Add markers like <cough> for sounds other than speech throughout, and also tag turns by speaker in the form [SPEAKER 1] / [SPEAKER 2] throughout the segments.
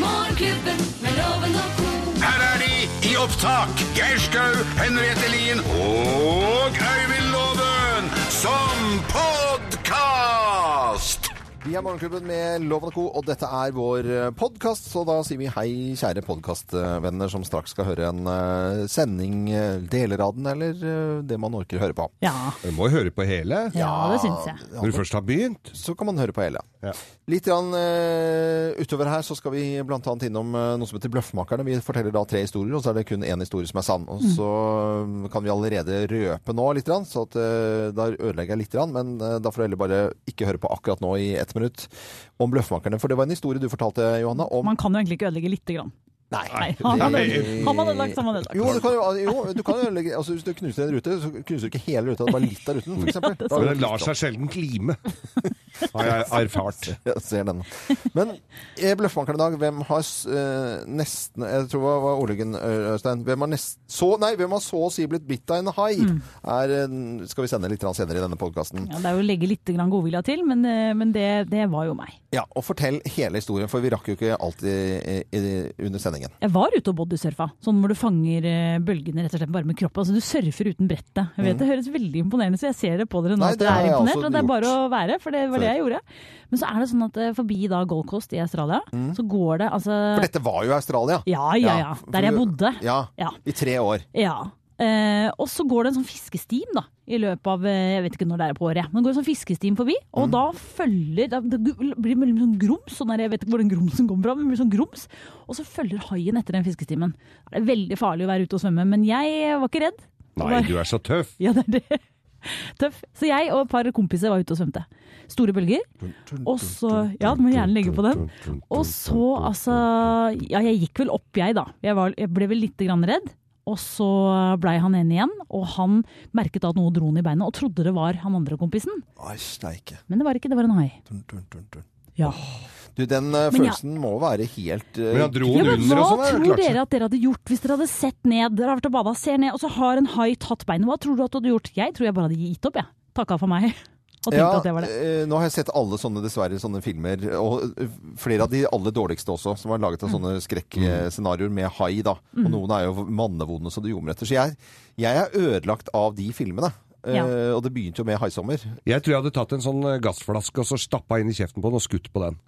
[SPEAKER 1] Morgenklubben med Loven og Co.
[SPEAKER 2] Her er de i opptak. Geir Skau, Henriette Lien og Øyvind Loven som podkast!
[SPEAKER 3] Vi er Morgenklubben med Loven og Co., og dette er vår podkast. Så da sier vi hei, kjære podkastvenner som straks skal høre en eh, sending, eh, deler av den, eller eh, det man orker høre på.
[SPEAKER 4] Ja,
[SPEAKER 5] Du må jo høre på hele.
[SPEAKER 4] ja, det syns jeg.
[SPEAKER 5] Når du først har begynt.
[SPEAKER 3] Så kan man høre på hele.
[SPEAKER 5] Ja.
[SPEAKER 3] Litt grann, eh, utover her så skal vi bl.a. innom eh, noe som heter Bløffmakerne. Vi forteller da tre historier, og så er det kun én historie som er sann. Og så eh, kan vi allerede røpe nå litt, grann, så at, eh, da ødelegger jeg litt, grann, men eh, da får du heller bare ikke høre på akkurat nå i ett minutt om Bløffmakerne. For det var en historie du fortalte, Johanne, om
[SPEAKER 4] Man kan jo egentlig ikke ødelegge lite grann.
[SPEAKER 3] Nei.
[SPEAKER 4] Nei, har man
[SPEAKER 5] Nei.
[SPEAKER 4] ødelagt, har man ødelagt, så har man ødelagt.
[SPEAKER 3] Jo, du kan jo, jo, du kan jo legge, altså, hvis du knuser en rute, så knuser du ikke hele ruta, bare litt av
[SPEAKER 4] <laughs>
[SPEAKER 3] ruten, f.eks. Ja,
[SPEAKER 5] Men den lar seg sjelden lime. Har jeg erfart.
[SPEAKER 3] Jeg ser den. Men eh, Bløffmakeren i dag, hvem har s- eh, nesten Jeg tror det var ordlykken, Ø- Øystein. Hvem har, nest, så, nei, hvem har så å si blitt bitt av en hai? Er, eh, skal vi sende litt grann senere i denne podkasten.
[SPEAKER 4] Mm. Ja, det er jo å legge litt grann godvilja til, men, eh, men det, det var jo meg.
[SPEAKER 3] Ja, og fortell hele historien, for vi rakk jo ikke alt i, i, under sendingen.
[SPEAKER 4] Jeg var ute og bodysurfa, sånn hvor du fanger eh, bølgene rett og slett bare med kroppen. Altså du surfer uten brettet. Jeg vet det høres veldig imponerende ut, så jeg ser det på dere nå
[SPEAKER 3] Mm. Nei,
[SPEAKER 4] at
[SPEAKER 3] det
[SPEAKER 4] dere
[SPEAKER 3] har
[SPEAKER 4] er
[SPEAKER 3] jeg
[SPEAKER 4] imponert.
[SPEAKER 3] også
[SPEAKER 4] Og det er bare å
[SPEAKER 3] gjort.
[SPEAKER 4] være, for det var det jeg gjorde. Men så er det sånn at eh, forbi da Gold Coast i Australia,
[SPEAKER 3] Mm.
[SPEAKER 4] så går det altså
[SPEAKER 3] For dette var jo Australia.
[SPEAKER 4] Ja, ja, ja.
[SPEAKER 3] for-
[SPEAKER 4] Der jeg bodde.
[SPEAKER 3] Ja,
[SPEAKER 4] Ja.
[SPEAKER 3] I tre år.
[SPEAKER 4] Ja. Eh, og så går det en sånn fiskestim da, i løpet av eh, jeg vet ikke når det er på året. Men det går en sånn fiskestim forbi, og da følger da, Det blir veldig sånn grums. Sånn der, jeg vet ikke hvor den grumsen kommer fra, men det blir sånn grums. Og så følger haien etter den fiskestimen. Det er veldig farlig å være ute og svømme, men jeg var ikke redd. <laughs>
[SPEAKER 5] Nei,
[SPEAKER 4] Bare-
[SPEAKER 5] du er så tøff.
[SPEAKER 4] Ja, det er det. Tøff. Så jeg og et par kompiser var ute og svømte. Store bølger. Og så Ja, du må gjerne legge på den. Og så, altså Ja, jeg gikk vel opp, jeg, da. Jeg, var, jeg ble vel lite grann redd. Og så blei han ene igjen, og han merket da at noe dro han i beinet, og trodde det var han andre kompisen.
[SPEAKER 3] Ai, steike.
[SPEAKER 4] Men det var ikke, det var en hai.
[SPEAKER 3] Dun, dun, dun, dun.
[SPEAKER 4] Ja.
[SPEAKER 3] Du, den eh,
[SPEAKER 4] Men ja.
[SPEAKER 3] følelsen må være helt eh,
[SPEAKER 5] Men han dro
[SPEAKER 4] ja,
[SPEAKER 5] den
[SPEAKER 4] men
[SPEAKER 5] under og
[SPEAKER 4] hva
[SPEAKER 5] sånn. er det
[SPEAKER 4] tror
[SPEAKER 5] klart.
[SPEAKER 4] dere at dere hadde gjort hvis dere hadde sett ned, dere har vært og bada, ser ned, og så har en hai tatt beinet? Hva tror du at du hadde gjort? Jeg tror jeg bare hadde gitt opp, jeg. Takka for meg. <laughs> Og tenkte at det var det.
[SPEAKER 3] eh, Nå har jeg sett alle sånne dessverre sånne filmer, og eh, flere av de aller dårligste også, som er laget av
[SPEAKER 4] Mm.
[SPEAKER 3] sånne
[SPEAKER 5] Mm.
[SPEAKER 3] skrekkscenarioer med hai, da. Og noen er jo mannevonde så du ljomer etter. Så jeg, jeg er ødelagt av de filmene. Eh,
[SPEAKER 4] Ja.
[SPEAKER 3] Og det begynte jo med 'Haisommer'.
[SPEAKER 5] Jeg tror jeg hadde tatt en sånn gassflaske og så stappa inn i kjeften på den og skutt på den.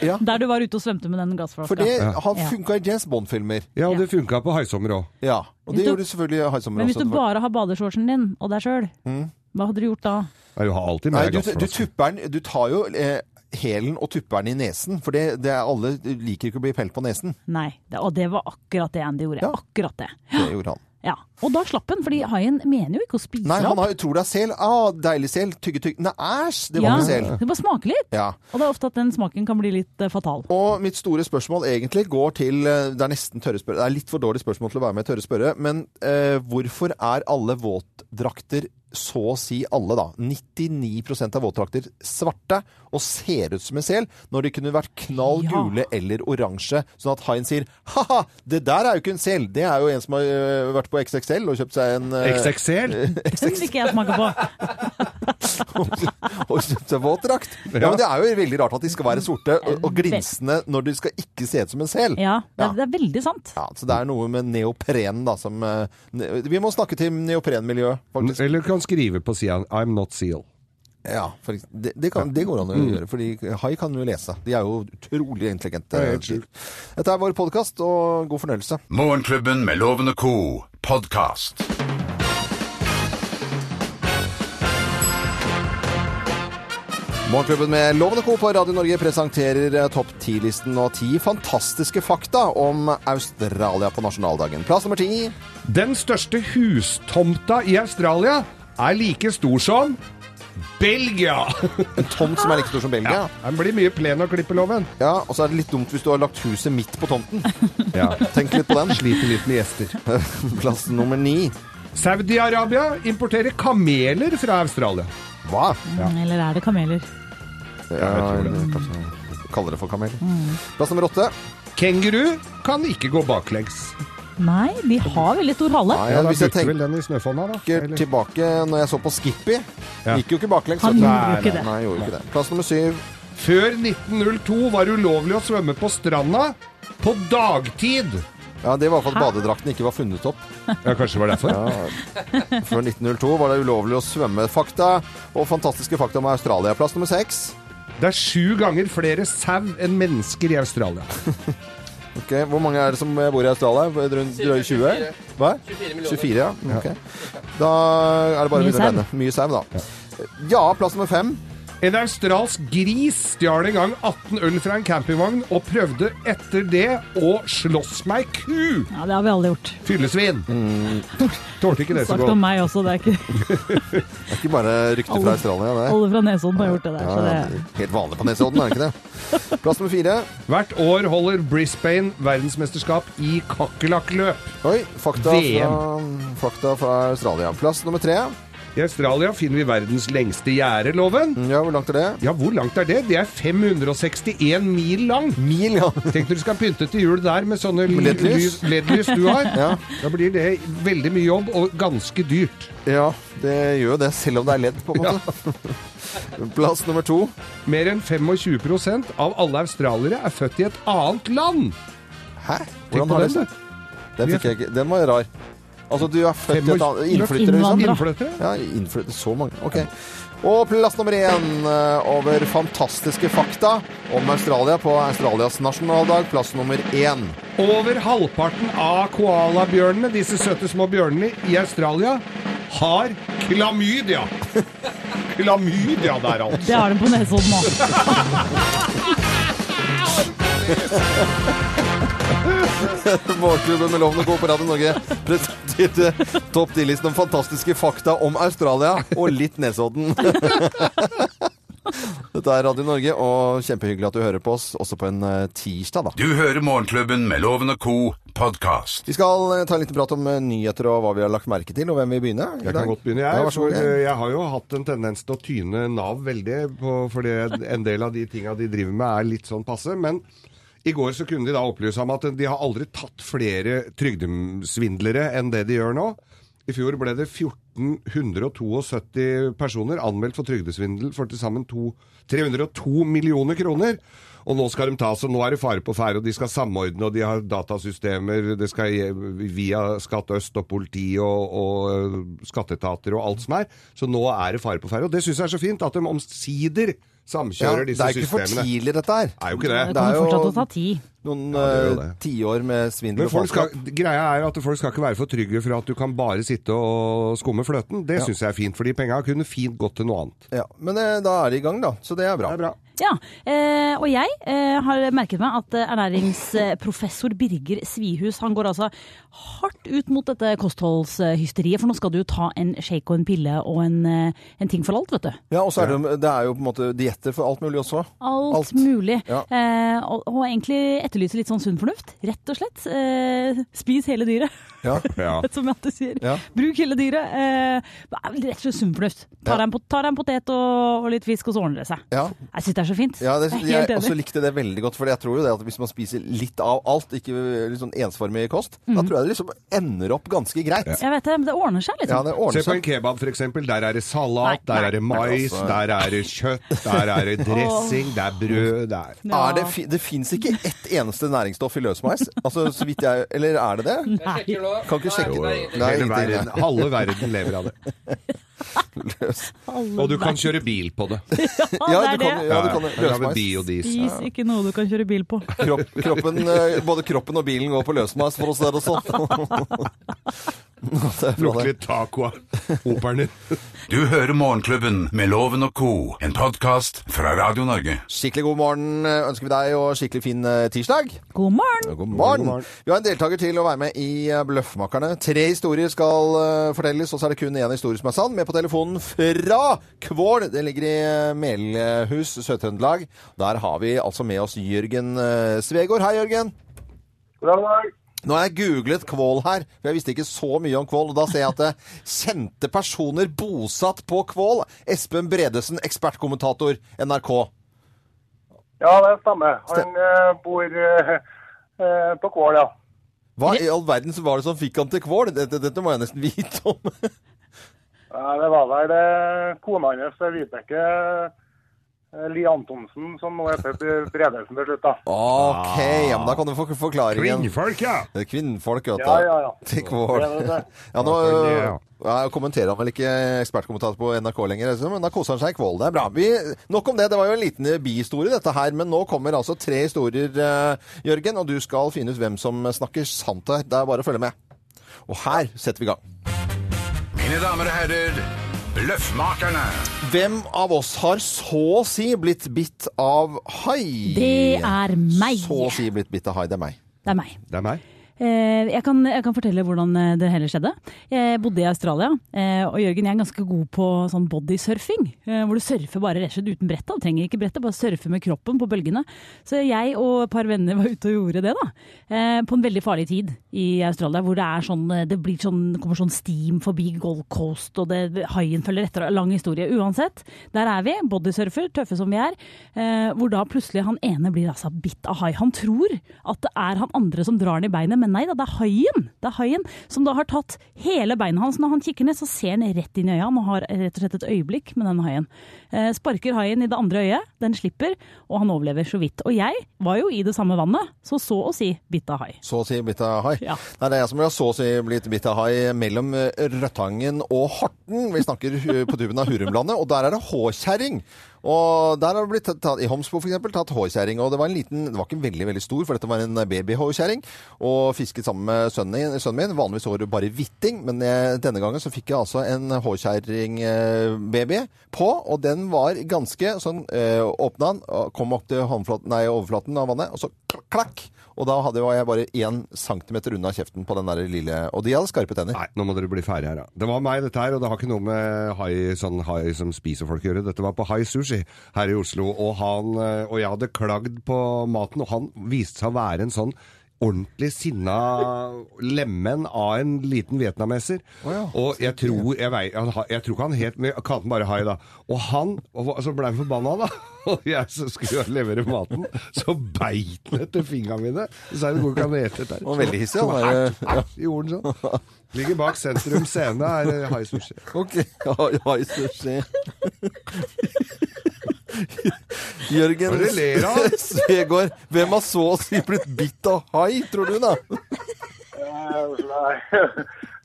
[SPEAKER 3] Ja.
[SPEAKER 4] Der du var ute og svømte med den
[SPEAKER 3] For
[SPEAKER 4] gassflaska.
[SPEAKER 3] det har
[SPEAKER 4] Ja.
[SPEAKER 3] funka i James Bond-filmer.
[SPEAKER 5] Ja, og det funka på haisommer òg.
[SPEAKER 3] Ja. Og
[SPEAKER 4] Hvis
[SPEAKER 3] det
[SPEAKER 4] du-
[SPEAKER 3] gjorde selvfølgelig 'Haisommer'
[SPEAKER 4] Men hvis
[SPEAKER 3] også.
[SPEAKER 4] du
[SPEAKER 3] Det var-
[SPEAKER 4] bare har badeshortsen din og deg sjøl,
[SPEAKER 5] Mm.
[SPEAKER 4] hva hadde du gjort da?
[SPEAKER 5] Du har alltid
[SPEAKER 3] Nei,
[SPEAKER 5] med deg
[SPEAKER 3] du, du
[SPEAKER 5] gassflaske.
[SPEAKER 3] tupper den Du tar jo eh, hælen og tupper den i nesen, for det, det er alle liker ikke å bli pelt på nesen.
[SPEAKER 4] Nei. Det, og det var akkurat det Andy gjorde.
[SPEAKER 3] Ja.
[SPEAKER 4] Akkurat det.
[SPEAKER 3] Det gjorde han.
[SPEAKER 4] Ja. Og da slapp han, fordi haien mener jo ikke å spise
[SPEAKER 3] Nei, han
[SPEAKER 4] opp.
[SPEAKER 3] har, tror det er sel. Ah, deilig sel. Tygge, tygge. Nei, æsj! Det var
[SPEAKER 4] ja.
[SPEAKER 3] ikke sel.
[SPEAKER 4] Det bare smaker litt.
[SPEAKER 3] Ja.
[SPEAKER 4] Og det er ofte at den smaken kan bli litt eh, fatal.
[SPEAKER 3] Og mitt store spørsmål egentlig går til eh, Det er nesten tørre spørre. Det er litt for dårlig spørsmål til å være med i tørre spørre, men eh, hvorfor er alle våtdrakter så å si alle, da. 99 av våtdrakter svarte og ser ut som en sel, når de kunne vært knall
[SPEAKER 4] Ja.
[SPEAKER 3] gule eller oransje. Sånn at haien sier ha-ha, det der er jo ikke en sel, det er jo en som har eh, vært på XXL og kjøpt seg en eh,
[SPEAKER 5] XXL?
[SPEAKER 4] Den <laughs> vil ikke jeg smake på.
[SPEAKER 3] <laughs> og kjøpt seg våtdrakt. Ja. men det er jo veldig rart at de skal være sorte og, og glinsende når de skal ikke se ut som en sel.
[SPEAKER 4] Eh, Ja, det,
[SPEAKER 3] Ja.
[SPEAKER 4] det er veldig sant.
[SPEAKER 3] Ja, så det er noe med neoprenen da som eh, ne Vi må snakke til neoprenmiljøet, faktisk.
[SPEAKER 5] Eller du kan skrive på sida 'I'm not seal'.
[SPEAKER 3] Ja, Mm. for, eks- det, det, kan, det går an å gjøre, fordi hai kan jo lese. De er jo utrolig intelligente.
[SPEAKER 5] er helt sjukt.
[SPEAKER 3] Dette er vår podkast, og god fornøyelse.
[SPEAKER 2] Morgenklubben med Loven og co. podkast.
[SPEAKER 3] Morgenklubben med Loven og Co. på Radio Norge presenterer eh, topp ti-listen og ti fantastiske fakta om Australia på nasjonaldagen. Plass nummer ti.
[SPEAKER 5] Den største hustomta i Australia er like stor som Belgia!
[SPEAKER 3] En tomt som er like stor som Belgia.
[SPEAKER 5] <laughs> Den blir mye plen å klippe, loven.
[SPEAKER 3] Ja, Og så er det litt dumt hvis du har lagt huset midt på tomten. Tenk litt på den.
[SPEAKER 5] Sliter litt med gjester.
[SPEAKER 3] Plass nummer ni.
[SPEAKER 5] Saudi-Arabia importerer kameler fra Australia.
[SPEAKER 3] Hva?
[SPEAKER 4] Eller er det kameler?
[SPEAKER 3] Ja, kanskje kaller det for kamel.
[SPEAKER 4] Mm.
[SPEAKER 3] Plass nummer åtte.
[SPEAKER 5] Kenguru kan ikke gå baklengs.
[SPEAKER 4] Nei, de har veldig stor hale.
[SPEAKER 3] Nei, hvis jeg
[SPEAKER 5] brukte
[SPEAKER 3] tenker
[SPEAKER 5] vel den i snøfonna, da. Eller-
[SPEAKER 3] tilbake når jeg så på Skippy,
[SPEAKER 5] Ja.
[SPEAKER 3] gikk jo ikke baklengs.
[SPEAKER 4] Han
[SPEAKER 3] vet du.
[SPEAKER 4] gjorde jo ikke det.
[SPEAKER 3] Nei, gjorde jo ikke det. Plass nummer syv.
[SPEAKER 5] Før 1902 var det ulovlig å svømme på stranda på dagtid.
[SPEAKER 3] Ja, Det var for at badedrakten ikke var funnet opp.
[SPEAKER 5] Ja, kanskje det var derfor.
[SPEAKER 3] Før 1902 var det ulovlig å svømme. Fakta og fantastiske fakta om Australia. Plass nummer seks.
[SPEAKER 5] Det er sju ganger flere sau enn mennesker i Australia.
[SPEAKER 3] Ok, Hvor mange er det som bor i Australia? Rundt drøye 20? Hva?
[SPEAKER 6] 24 millioner.
[SPEAKER 3] 24, ja. Ok. Da er det bare å
[SPEAKER 4] Mye
[SPEAKER 3] begynne å
[SPEAKER 4] sau.
[SPEAKER 3] regne. Mye sau, da. Ja, plass nummer fem.
[SPEAKER 5] En australsk gris stjal en gang 18 øl fra en campingvogn og prøvde etter det å slåss med ei ku!
[SPEAKER 4] Ja, det har vi alle gjort.
[SPEAKER 5] Fyllesvin!
[SPEAKER 3] Mm.
[SPEAKER 5] Tålte ikke det så
[SPEAKER 4] Sagt om
[SPEAKER 5] godt.
[SPEAKER 4] meg også, det er ikke
[SPEAKER 3] Det er ikke bare rykter fra
[SPEAKER 4] Alle-
[SPEAKER 3] Australia, det.
[SPEAKER 4] alle fra Nesodden har gjort det der.
[SPEAKER 3] Ja,
[SPEAKER 4] Så
[SPEAKER 3] ja,
[SPEAKER 4] det,
[SPEAKER 3] Helt vanlig på Nesodden, er det ikke det? <laughs> Plass nummer fire.
[SPEAKER 5] Hvert år holder Brisbane verdensmesterskap i kakerlakkløp.
[SPEAKER 3] Oi, fakta fra,
[SPEAKER 5] VM.
[SPEAKER 3] fakta fra Australia. Plass nummer tre.
[SPEAKER 5] I Australia finner vi verdens lengste gjerde, loven.
[SPEAKER 3] Ja, hvor langt er det?
[SPEAKER 5] Ja, hvor langt er det? Det er 561 mil lang.
[SPEAKER 3] Mil, ja.
[SPEAKER 5] Tenk når du skal pynte til jul der med sånne ly-
[SPEAKER 3] LED-lys.
[SPEAKER 5] ly- LED-lys du har.
[SPEAKER 3] Ja.
[SPEAKER 5] Da blir det veldig mye jobb og ganske dyrt.
[SPEAKER 3] <laughs> ja, det gjør jo det, selv om det er ledd, på en måte. <laughs> Plass nummer to.
[SPEAKER 5] Mer enn 25 av alle australiere er født i et annet land.
[SPEAKER 3] Hæ? Hvordan
[SPEAKER 5] Tenk på
[SPEAKER 3] har
[SPEAKER 5] den,
[SPEAKER 3] det seg?
[SPEAKER 5] du.
[SPEAKER 3] Den fikk jeg ikke. Den var rar. Altså, du er født i et annet Innflytter, liksom?
[SPEAKER 4] Innvandrer.
[SPEAKER 5] Sånn Innflyttere.
[SPEAKER 3] Ja, innflyttet så mange. Ok. Og plass nummer én eh, over fantastiske fakta om Australia på Australias nasjonaldag. Plass nummer én.
[SPEAKER 5] Over halvparten av koalabjørnene, disse søte små bjørnene i Australia, har klamydia. Klamydia der, altså.
[SPEAKER 4] det har de på Nesodden òg.
[SPEAKER 3] <laughs> Morgenklubben med Loven og Co. på Radio Norge presenterte topp 10-listen om fantastiske fakta om Australia og litt Nesodden. <laughs> Dette er Radio Norge, og kjempehyggelig at du hører på oss også på en eh, tirsdag, da.
[SPEAKER 2] Du hører Morgenklubben med Loven og Co. podkast.
[SPEAKER 3] Vi skal eh, ta en liten prat om eh, nyheter og hva vi har lagt merke til, og hvem vil begynne? i
[SPEAKER 5] Jeg
[SPEAKER 3] dag?
[SPEAKER 5] kan godt begynne,
[SPEAKER 3] Ja,
[SPEAKER 5] jeg.
[SPEAKER 3] vær så
[SPEAKER 5] For
[SPEAKER 3] god.
[SPEAKER 5] eh, jeg har jo hatt en tendens til å tyne Nav veldig, på, fordi en del av de tinga de driver med, er litt sånn passe. Men i går så kunne de da opplyse om at de har aldri tatt flere trygdesvindlere enn det de gjør nå. I fjor ble det 1472 personer anmeldt for trygdesvindel for til sammen to- 302 millioner kroner. Og nå skal de ta, så nå er det fare på ferde, og de skal samordne, og de har datasystemer, det skal gi- via Skatt Øst og politi og, og eh, skatteetater og alt som er. Så nå er det fare på ferde, og det synes jeg er så fint at de omsider
[SPEAKER 3] Ja,
[SPEAKER 5] samkjører
[SPEAKER 3] det
[SPEAKER 5] disse
[SPEAKER 3] er jo ikke for
[SPEAKER 5] systemene.
[SPEAKER 3] tidlig, dette her.
[SPEAKER 5] Det er jo ikke det.
[SPEAKER 4] Det
[SPEAKER 3] Det er
[SPEAKER 4] kommer
[SPEAKER 3] jo-
[SPEAKER 4] fortsatt til å ta tid.
[SPEAKER 3] Noen
[SPEAKER 5] det er jo
[SPEAKER 3] eh,
[SPEAKER 5] det.
[SPEAKER 3] tiår med svindel
[SPEAKER 5] Men
[SPEAKER 3] og
[SPEAKER 5] folk skal,
[SPEAKER 3] faenskap.
[SPEAKER 5] greia er at folk skal ikke være for trygge for at du kan bare sitte og skumme fløten. Det synes jeg er fint, fordi penga kunne fint gått til noe annet.
[SPEAKER 3] Ja, men eh, da er de i gang, da. Så det er bra.
[SPEAKER 5] Det er bra.
[SPEAKER 4] Ja, eh, og jeg eh, har merket meg at eh, ernæringsprofessor Birger Svihus han går altså hardt ut mot dette kostholdshysteriet, for nå skal du jo ta en shake og en pille og en, eh, en ting for alt, vet du.
[SPEAKER 3] Ja, og så er det, jo- det er jo på en måte dietter for alt mulig også.
[SPEAKER 4] Alt,
[SPEAKER 3] Alt.
[SPEAKER 4] mulig.
[SPEAKER 3] Ja.
[SPEAKER 4] Eh, og, og egentlig etterlyser litt sånn sunn fornuft, rett og slett. Eh, spis hele dyret,
[SPEAKER 3] Ja.
[SPEAKER 5] Ja.
[SPEAKER 4] <laughs> som Matte sier.
[SPEAKER 3] Ja.
[SPEAKER 4] Bruk hele dyret. Eh, rett og slett sunn fornuft. Ta
[SPEAKER 3] Ja.
[SPEAKER 4] deg en, pot- ta deg en potet og, og litt fisk, og så ordner det seg.
[SPEAKER 3] Ja.
[SPEAKER 4] Jeg syns det er så fint.
[SPEAKER 3] Ja, det,
[SPEAKER 4] Jeg er
[SPEAKER 3] jeg
[SPEAKER 4] helt
[SPEAKER 3] også
[SPEAKER 4] enig.
[SPEAKER 3] likte det veldig godt, for jeg tror jo det at hvis man spiser litt av alt, ikke litt sånn ensformig kost, da
[SPEAKER 4] Mm.
[SPEAKER 3] tror jeg det liksom ender opp ganske greit. Ja,
[SPEAKER 4] Jeg vet det, men det ordner seg, liksom.
[SPEAKER 3] det
[SPEAKER 5] Se
[SPEAKER 3] ordner
[SPEAKER 5] på en
[SPEAKER 3] seg.
[SPEAKER 5] kebab, for eksempel. Der er det salat,
[SPEAKER 4] Nei,
[SPEAKER 5] der er det mais,
[SPEAKER 3] altså.
[SPEAKER 5] der er det kjøtt, der er det dressing, det er brød, det er
[SPEAKER 4] Ja.
[SPEAKER 3] Er det, fi, det fins ikke ett eneste næringsstoff i løsmeis. Altså, så vidt jeg Eller er det
[SPEAKER 4] <laughs>
[SPEAKER 3] det?
[SPEAKER 4] Nei.
[SPEAKER 3] Kan ikke sjekke
[SPEAKER 6] Nei,
[SPEAKER 3] det.
[SPEAKER 6] nei,
[SPEAKER 3] Nei,
[SPEAKER 5] Hele
[SPEAKER 3] ingenting.
[SPEAKER 5] verden, halve verden lever av det. Og du kan kjøre bil på det.
[SPEAKER 3] Ja, du kan,
[SPEAKER 4] det er det.
[SPEAKER 3] ja, du kan
[SPEAKER 5] Ja, med
[SPEAKER 3] løsmeis.
[SPEAKER 5] biodiesel.
[SPEAKER 4] Spis ikke noe du kan kjøre bil på.
[SPEAKER 3] Kropp, kroppen, eh, både kroppen og bilen går på løsmeis for oss der også. Det er bra,
[SPEAKER 5] Lukter
[SPEAKER 3] det.
[SPEAKER 5] litt taco av operen din.
[SPEAKER 2] Du hører Morgenklubben med Loven og Co., en podkast fra Radio Norge.
[SPEAKER 3] Skikkelig god morgen eh, ønsker vi deg, og skikkelig fin eh, tirsdag.
[SPEAKER 4] God morgen!
[SPEAKER 3] God morgen. Vi har en deltaker til å være med i eh, Bløffmakerne. Tre historier skal eh, fortelles, og så er det kun én historie som er sann. Med på telefonen fra Kvål. Det ligger i eh, Melhus, Sør-Trøndelag. Der har vi altså med oss Jørgen eh, Svegård. Hei, Jørgen.
[SPEAKER 7] God dag.
[SPEAKER 3] Nå har jeg googlet Kvål her, for jeg visste ikke så mye om Kvål. Og da ser jeg at det er kjente personer bosatt på Kvål. Espen Bredesen, ekspertkommentator NRK.
[SPEAKER 7] Ja, det stemmer. Han eh, bor eh, eh, på Kvål, ja.
[SPEAKER 3] Hva i all verden så var det som fikk han til Kvål? Dette, dette må jeg nesten vite om. <laughs>
[SPEAKER 7] Eh, Det var vel eh, kona hans, Vibeke, eh, Li Antonsen, som nå heter Bre- Bredesen til slutt, da.
[SPEAKER 3] Ok, ja, men da kan du få forklaringen.
[SPEAKER 5] Kvinnfolk, ja!
[SPEAKER 3] Det er kvinnfolk, vet du.
[SPEAKER 7] Ja, ja, ja.
[SPEAKER 3] Dick Ward.
[SPEAKER 7] Det er det, det.
[SPEAKER 3] Ja, nå
[SPEAKER 5] Ja, for det,
[SPEAKER 3] øh, jeg kommenterer han vel ikke ekspertkommentator på NRK lenger, altså, men da koser han seg i kvål. Det er bra. Vi, nok om det. Det var jo en liten eh, bihistorie, dette her. Men nå kommer altså tre historier, eh, Jørgen, og du skal finne ut hvem som snakker sant her. Det er bare å følge med. Og her setter vi i gang.
[SPEAKER 2] Mine damer og herrer, Bløffmakerne.
[SPEAKER 3] Hvem av oss har så å si blitt bitt av hai?
[SPEAKER 4] Det er meg.
[SPEAKER 3] Så å si blitt bitt av hai. Det er meg.
[SPEAKER 4] Det er meg.
[SPEAKER 5] Det er meg.
[SPEAKER 4] Eh, Jeg kan, jeg kan fortelle hvordan eh, det heller skjedde. Jeg bodde i Australia, eh, og Jørgen jeg er ganske god på sånn bodysurfing. eh, Hvor du surfer bare rett og slett uten brettet. Du trenger ikke brettet, bare surfer med kroppen på bølgene. Så jeg og et par venner var ute og gjorde det, da. eh, På en veldig farlig tid i Australia, hvor det er sånn, eh, det blir sånn, kommer sånn steam forbi Gold Coast, og det, haien følger etter. og Lang historie. Uansett, der er vi, bodysurfer, tøffe som vi er. eh, Hvor da plutselig han ene blir altså bitt av hai. Han tror at det er han andre som drar han i beinet, men nei da, det er haien. Det er haien som da har tatt hele beinet hans. Når han kikker ned, så ser han rett inn i øya. Han har rett og slett et øyeblikk med den haien. Eh, sparker haien i det andre øyet, den slipper, og han overlever så vidt. Og jeg var jo i det samme vannet, så så å si bitt av hai.
[SPEAKER 3] Så å si blitt av hai?
[SPEAKER 4] Ja.
[SPEAKER 3] Nei, det er jeg som har så å si blitt bitt av hai mellom eh, Rødtangen og Horten. Vi snakker eh, på tuben av Hurumlandet, og der er det håkjerring. Og der har det blitt tatt, I Homsbo for eksempel, tatt håkjerring. Og det var en liten, det var ikke veldig veldig stor, for dette var en eh, babyhåkjerring. Og fisket sammen med sønnen, sønnen min. Vanligvis var det bare hvitting, men eh, denne gangen så fikk jeg altså en håkjerringbaby på. Og den var ganske sånn eh, Åpna den, og kom opp til håndflaten, nei, overflaten av vannet, og så klakk, klakk. Og da hadde var jeg bare én centimeter unna kjeften på den der lille Og de hadde skarpe tenner.
[SPEAKER 5] Nei, nå må dere bli ferdige her, da. Det var meg, dette her, og det har ikke noe med hai, sånn hai som spiser folk å gjøre. Dette var på Hai Sushi her i Oslo, og, han, eh, og jeg hadde klagd på maten, og han viste seg å være en sånn ordentlig sinna lemen av en liten vietnameser.
[SPEAKER 3] ja.
[SPEAKER 5] Og jeg tror, jeg, vei, han, har- jeg tror ikke han helt, men jeg kalte han bare hai da. Og han, og, så ble han forbanna da. <laughs> Og jeg så skulle jo levere maten, så beit han etter fingrene mine. Så er det god kan ete der.
[SPEAKER 3] Og veldig hissig, han
[SPEAKER 5] Så-
[SPEAKER 3] der,
[SPEAKER 5] Æsj, <laughs> æsj, gjorde han sånn. Ligger bak sentrum scene er hai sushi.
[SPEAKER 3] <laughs> Ok, oi, oi, <laughs> sushi. Jørgen
[SPEAKER 5] Hva er det du ler av?
[SPEAKER 3] <laughs> Svegård, hvem har så å si blitt bitt av hai, tror du, da? <laughs>
[SPEAKER 7] Eh, Nei, <laughs>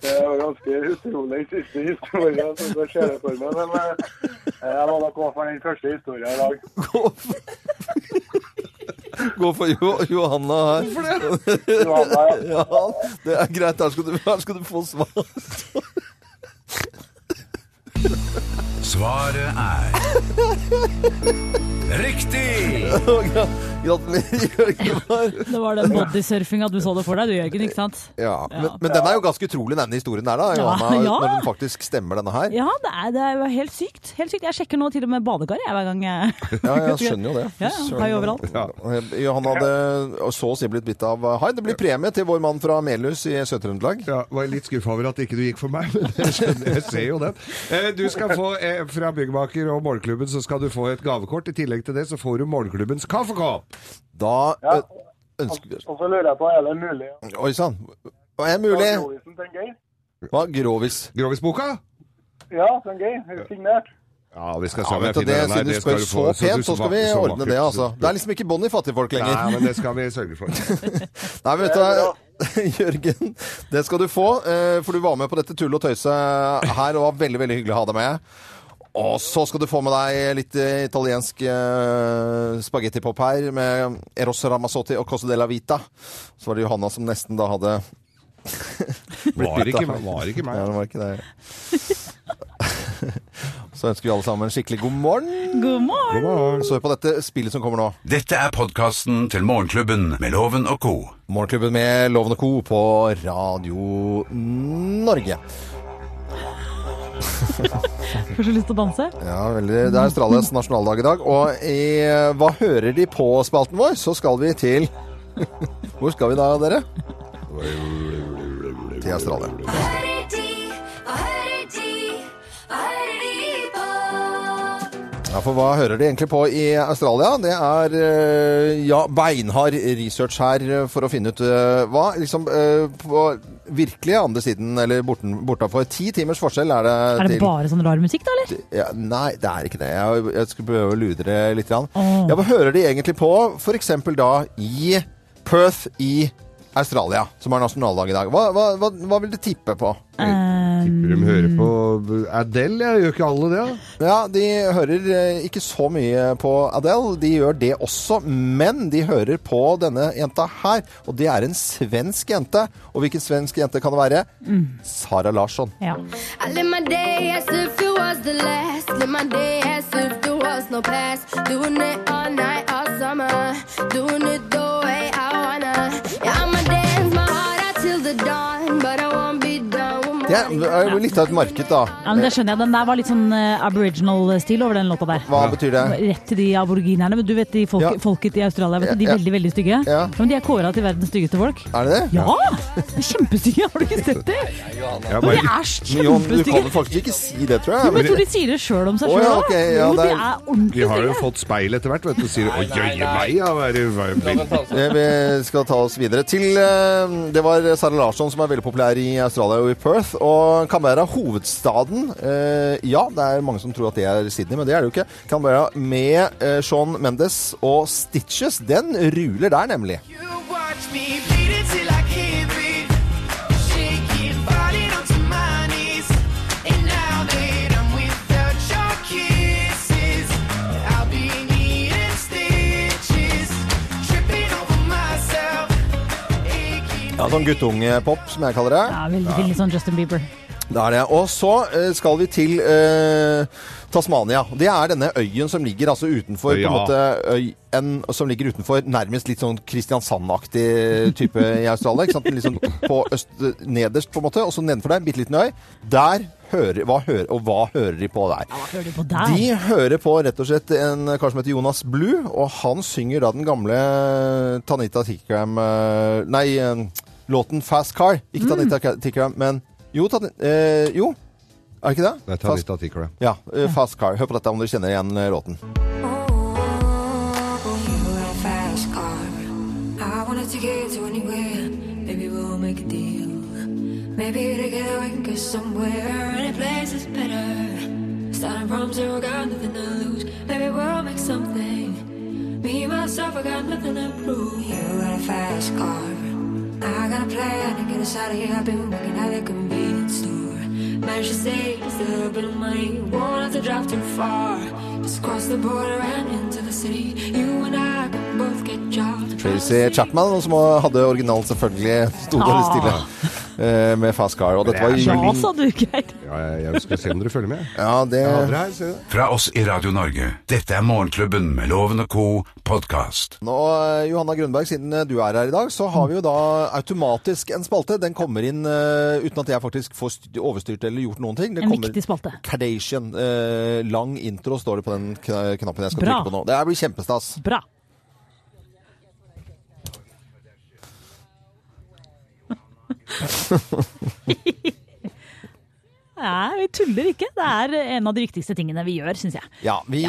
[SPEAKER 7] det var ganske utrolig siste historie som det skjer for meg, men eh, jeg må nok gå for den første historien i dag.
[SPEAKER 3] Gå for, Gå for jo, Johanna her.
[SPEAKER 7] Johanna, ja.
[SPEAKER 3] Ja, det er greit. Her skal du, her skal du få svar. <laughs>
[SPEAKER 2] Svaret er Riktig!
[SPEAKER 3] Gratulerer, Jørgen. Her.
[SPEAKER 4] Det var den bodysurfinga du så det for deg, du Jørgen, ikke sant?
[SPEAKER 3] Ja, men, men den er jo ganske utrolig, denne historien der, da, Johanna,
[SPEAKER 5] <laughs>
[SPEAKER 4] ja.
[SPEAKER 3] når den faktisk stemmer, denne her.
[SPEAKER 4] Ja, det er, det er jo helt sykt. Helt sykt. Jeg sjekker nå til og med badekaret jeg, hver gang jeg
[SPEAKER 3] Ja, jeg skjønner jo det.
[SPEAKER 4] Ja, ja, hai overalt.
[SPEAKER 3] Ja. Johan hadde så å si blitt bitt av eh, hai. Det blir premie til vår mann fra Melhus i Sør-Trøndelag.
[SPEAKER 5] Ja, var litt skuffa over at ikke du gikk for meg, men jeg, skjønner, jeg ser jo den. Eh, Du skal få, eh, fra Byggmaker og Morgenklubben, så skal du få et gavekort. I tillegg til det så får du Morgenklubbens kaffekopp.
[SPEAKER 3] Da
[SPEAKER 7] Ja.
[SPEAKER 3] ø- ønsker
[SPEAKER 7] Og så lurer jeg på, er det mulig å
[SPEAKER 3] Oi sann. Hva er mulig?
[SPEAKER 7] ta Grovisen til en Geir?
[SPEAKER 3] Hva? Grovis.
[SPEAKER 5] Grovisboka?
[SPEAKER 7] Ja, til en Geir. Signert.
[SPEAKER 5] Ja, vi skal se
[SPEAKER 3] Ja,
[SPEAKER 5] om jeg
[SPEAKER 3] vet du,
[SPEAKER 5] finner
[SPEAKER 3] det,
[SPEAKER 5] den her.
[SPEAKER 3] Siden du
[SPEAKER 5] skal
[SPEAKER 3] spør så
[SPEAKER 5] få.
[SPEAKER 3] pent,
[SPEAKER 5] du
[SPEAKER 3] så skal vi
[SPEAKER 5] smaker- så
[SPEAKER 3] ordne
[SPEAKER 5] vakkert.
[SPEAKER 3] det, altså. Det er liksom ikke bånd i fattigfolk lenger.
[SPEAKER 5] Nei, men det skal vi sørge <laughs> for.
[SPEAKER 3] Nei, men vet du hva, <laughs> Jørgen, det skal du få, eh, for du var med på dette tullet og tøyset her, og var veldig, veldig hyggelig å ha deg med. Og så skal du få med deg litt eh, italiensk eh, spagettipop her, med Eros Ramazzotti og Cosa della Vita. Så var det Johanna som nesten da hadde
[SPEAKER 5] Var
[SPEAKER 3] byttet.
[SPEAKER 5] ikke, meg- var ikke
[SPEAKER 3] Nei,
[SPEAKER 5] meg.
[SPEAKER 3] det var ikke det. <laughs> Så ønsker vi alle sammen en skikkelig god morgen.
[SPEAKER 4] God morgen!
[SPEAKER 5] God morgen.
[SPEAKER 3] Så hør på dette spillet som kommer nå.
[SPEAKER 2] Dette er podkasten til Morgenklubben med Loven og co.
[SPEAKER 3] Morgenklubben med Loven og Co. på Radio Norge.
[SPEAKER 4] Får så lyst til å danse.
[SPEAKER 3] Ja, veldig. Det er Australias nasjonaldag i dag. Og i eh, Hva hører de på-spalten vår, så skal vi til <laughs> Hvor skal vi da, dere? Til Australia.
[SPEAKER 1] Hva hører de? Hva hører de? Hva hører de på?
[SPEAKER 3] Ja, For hva hører de egentlig på i Australia? Det er eh, ja, beinhard research her eh, for å finne ut eh, hva liksom eh, på virkelig andre siden, eller borten, bortafor. Ti timers forskjell er det,
[SPEAKER 4] Er det
[SPEAKER 3] til
[SPEAKER 4] bare sånn rar musikk, da, eller?
[SPEAKER 3] ja, Nei, det er ikke det. Jeg, jeg skulle prøve å ludre litt. Grann.
[SPEAKER 4] Åh.
[SPEAKER 3] Ja, hva hører de egentlig på? For eksempel da i Perth i Australia, som har nasjonaldag i dag. Hva, hva, hva, hva vil du tippe på?
[SPEAKER 4] Eh,
[SPEAKER 5] Tipper de hører på Adele, jeg gjør ikke alle det. da?
[SPEAKER 3] Ja, de hører eh, ikke så mye på Adele. De gjør det også, men de hører på denne jenta her. Og det er en svensk jente. Og hvilken svensk jente kan det være?
[SPEAKER 4] Mm.
[SPEAKER 3] Sara Larsson.
[SPEAKER 4] Ja.
[SPEAKER 1] I live my day as if it was the last. Live my day as if there was no past. Doing it all night, all summer. Doing it the way I wanna. Yeah, I'ma dance my heart out till the dawn. But I won't be done with
[SPEAKER 3] Det er
[SPEAKER 1] morning.
[SPEAKER 3] er jo litt av et marked, da.
[SPEAKER 4] ja, men Det skjønner jeg. Den der var litt sånn eh, aboriginal-stil over den låta der.
[SPEAKER 3] Hva betyr det?
[SPEAKER 4] Rett til de aboriginerne. Men du vet de folk,
[SPEAKER 3] Ja.
[SPEAKER 4] folket i Australia, vet du, de
[SPEAKER 3] Ja.
[SPEAKER 4] veldig, veldig stygge.
[SPEAKER 3] Ja.
[SPEAKER 4] Men de er kåra til verdens styggeste folk.
[SPEAKER 3] Er det det?
[SPEAKER 4] Ja! De er Kjempestygge, har du ikke sett det?
[SPEAKER 5] Jeg
[SPEAKER 4] De er
[SPEAKER 5] bare,
[SPEAKER 3] Jon, du kan
[SPEAKER 4] kjempestygge.
[SPEAKER 3] jo faktisk ikke si det, tror
[SPEAKER 4] Men jeg
[SPEAKER 3] jeg.
[SPEAKER 4] tror de sier det sjøl om seg
[SPEAKER 3] Å,
[SPEAKER 4] sjøl.
[SPEAKER 3] ja, ok, ja,
[SPEAKER 4] jo, de
[SPEAKER 3] det er-
[SPEAKER 4] er ordentlig
[SPEAKER 5] de har jo
[SPEAKER 4] stygge.
[SPEAKER 5] fått speil etter hvert, vet du. og Sier oi, jøye meg, ja, hva er det- hva er det-
[SPEAKER 3] Eh, Vi skal ta oss videre til eh, Det var Sara Larsson som er veldig populær i Australia og i Perth. Og Canberra, hovedstaden eh, Ja, det er mange som tror at det er Sydney, men det er det jo ikke. Canberra med eh, Sean Mendes og Stitches, den ruler der, nemlig.
[SPEAKER 6] You watch me bleed until I can't breathe. Shaking, falling onto my knees. And now that I'm without your kisses, I'll be needing stitches. Tripping over myself. Aching.
[SPEAKER 8] Oh.
[SPEAKER 3] Ja, Sånn guttungepop, som jeg kaller det.
[SPEAKER 4] Ja, veldig, veldig sånn Justin Bieber.
[SPEAKER 3] Det er det. Og så eh, skal vi til eh, Tasmania. Det er denne øyen som ligger altså utenfor på
[SPEAKER 5] Ja.
[SPEAKER 3] en måte, øy, en, som ligger utenfor nærmest litt sånn Kristiansand-aktig type i Australia. ikke sant? Litt sånn på øst, nederst, på en måte, og så nedenfor der, bitte liten øy. Der hører, hva hører, og hva hører de på der?
[SPEAKER 4] Hva hører du på der?
[SPEAKER 3] De hører på rett og slett en kar som heter Jonas Blue, og han synger da den gamle Tanita Tikram eh, Nei, eh, låten Fast Car. Ikke Tanita Tikram, men jo, Tan eh, jo, er det ikke det?
[SPEAKER 5] Nei, ta litt
[SPEAKER 3] Fast,
[SPEAKER 5] av tikkerne.
[SPEAKER 3] ja, eh, Fast Car. Hør på dette om dere kjenner igjen eh, låten.
[SPEAKER 9] You're a fast car. I wanna take you to anywhere. Maybe we'll make a deal. Maybe together we can get somewhere. Any place is better. Starting from zero, got nothing to lose. Maybe we'll make something. Me myself, I got nothing to prove. You're a fast car. I got a plan to get us out of here. I've been working at a convenience store. Managed to save just a little bit of money. Won't have to drive too far. Just cross the border and into the city. You and I can both get jobs.
[SPEAKER 3] Tracy Chapman, som hadde originalen selvfølgelig, <laughs> sto dårlig stille eh, med Fast Car. Og dette var i
[SPEAKER 5] Det er så
[SPEAKER 4] Ja,
[SPEAKER 3] juli.
[SPEAKER 4] sa du, Geir.
[SPEAKER 5] Ja, jeg, jeg skal se om dere følger med.
[SPEAKER 3] Ja, det
[SPEAKER 5] Ja, dere her, se det.
[SPEAKER 2] Fra oss i Radio Norge. Dette er Morgenklubben med Loven og co. podkast.
[SPEAKER 3] Og eh, Johanna Grønberg, siden eh, du er her i dag, så har vi jo da automatisk en spalte. Den kommer inn eh, uten at jeg faktisk får st- overstyrt eller gjort noen ting. Det
[SPEAKER 4] En
[SPEAKER 3] kommer
[SPEAKER 4] viktig spalte.
[SPEAKER 3] Kardashian. eh, lang intro står det på den kna- knappen jeg skal
[SPEAKER 4] Bra.
[SPEAKER 3] trykke på nå. Det her blir kjempestas.
[SPEAKER 4] <laughs> Bra. Nei, vi tuller ikke. Det er en av de viktigste tingene vi gjør, syns jeg.
[SPEAKER 3] Ja, vi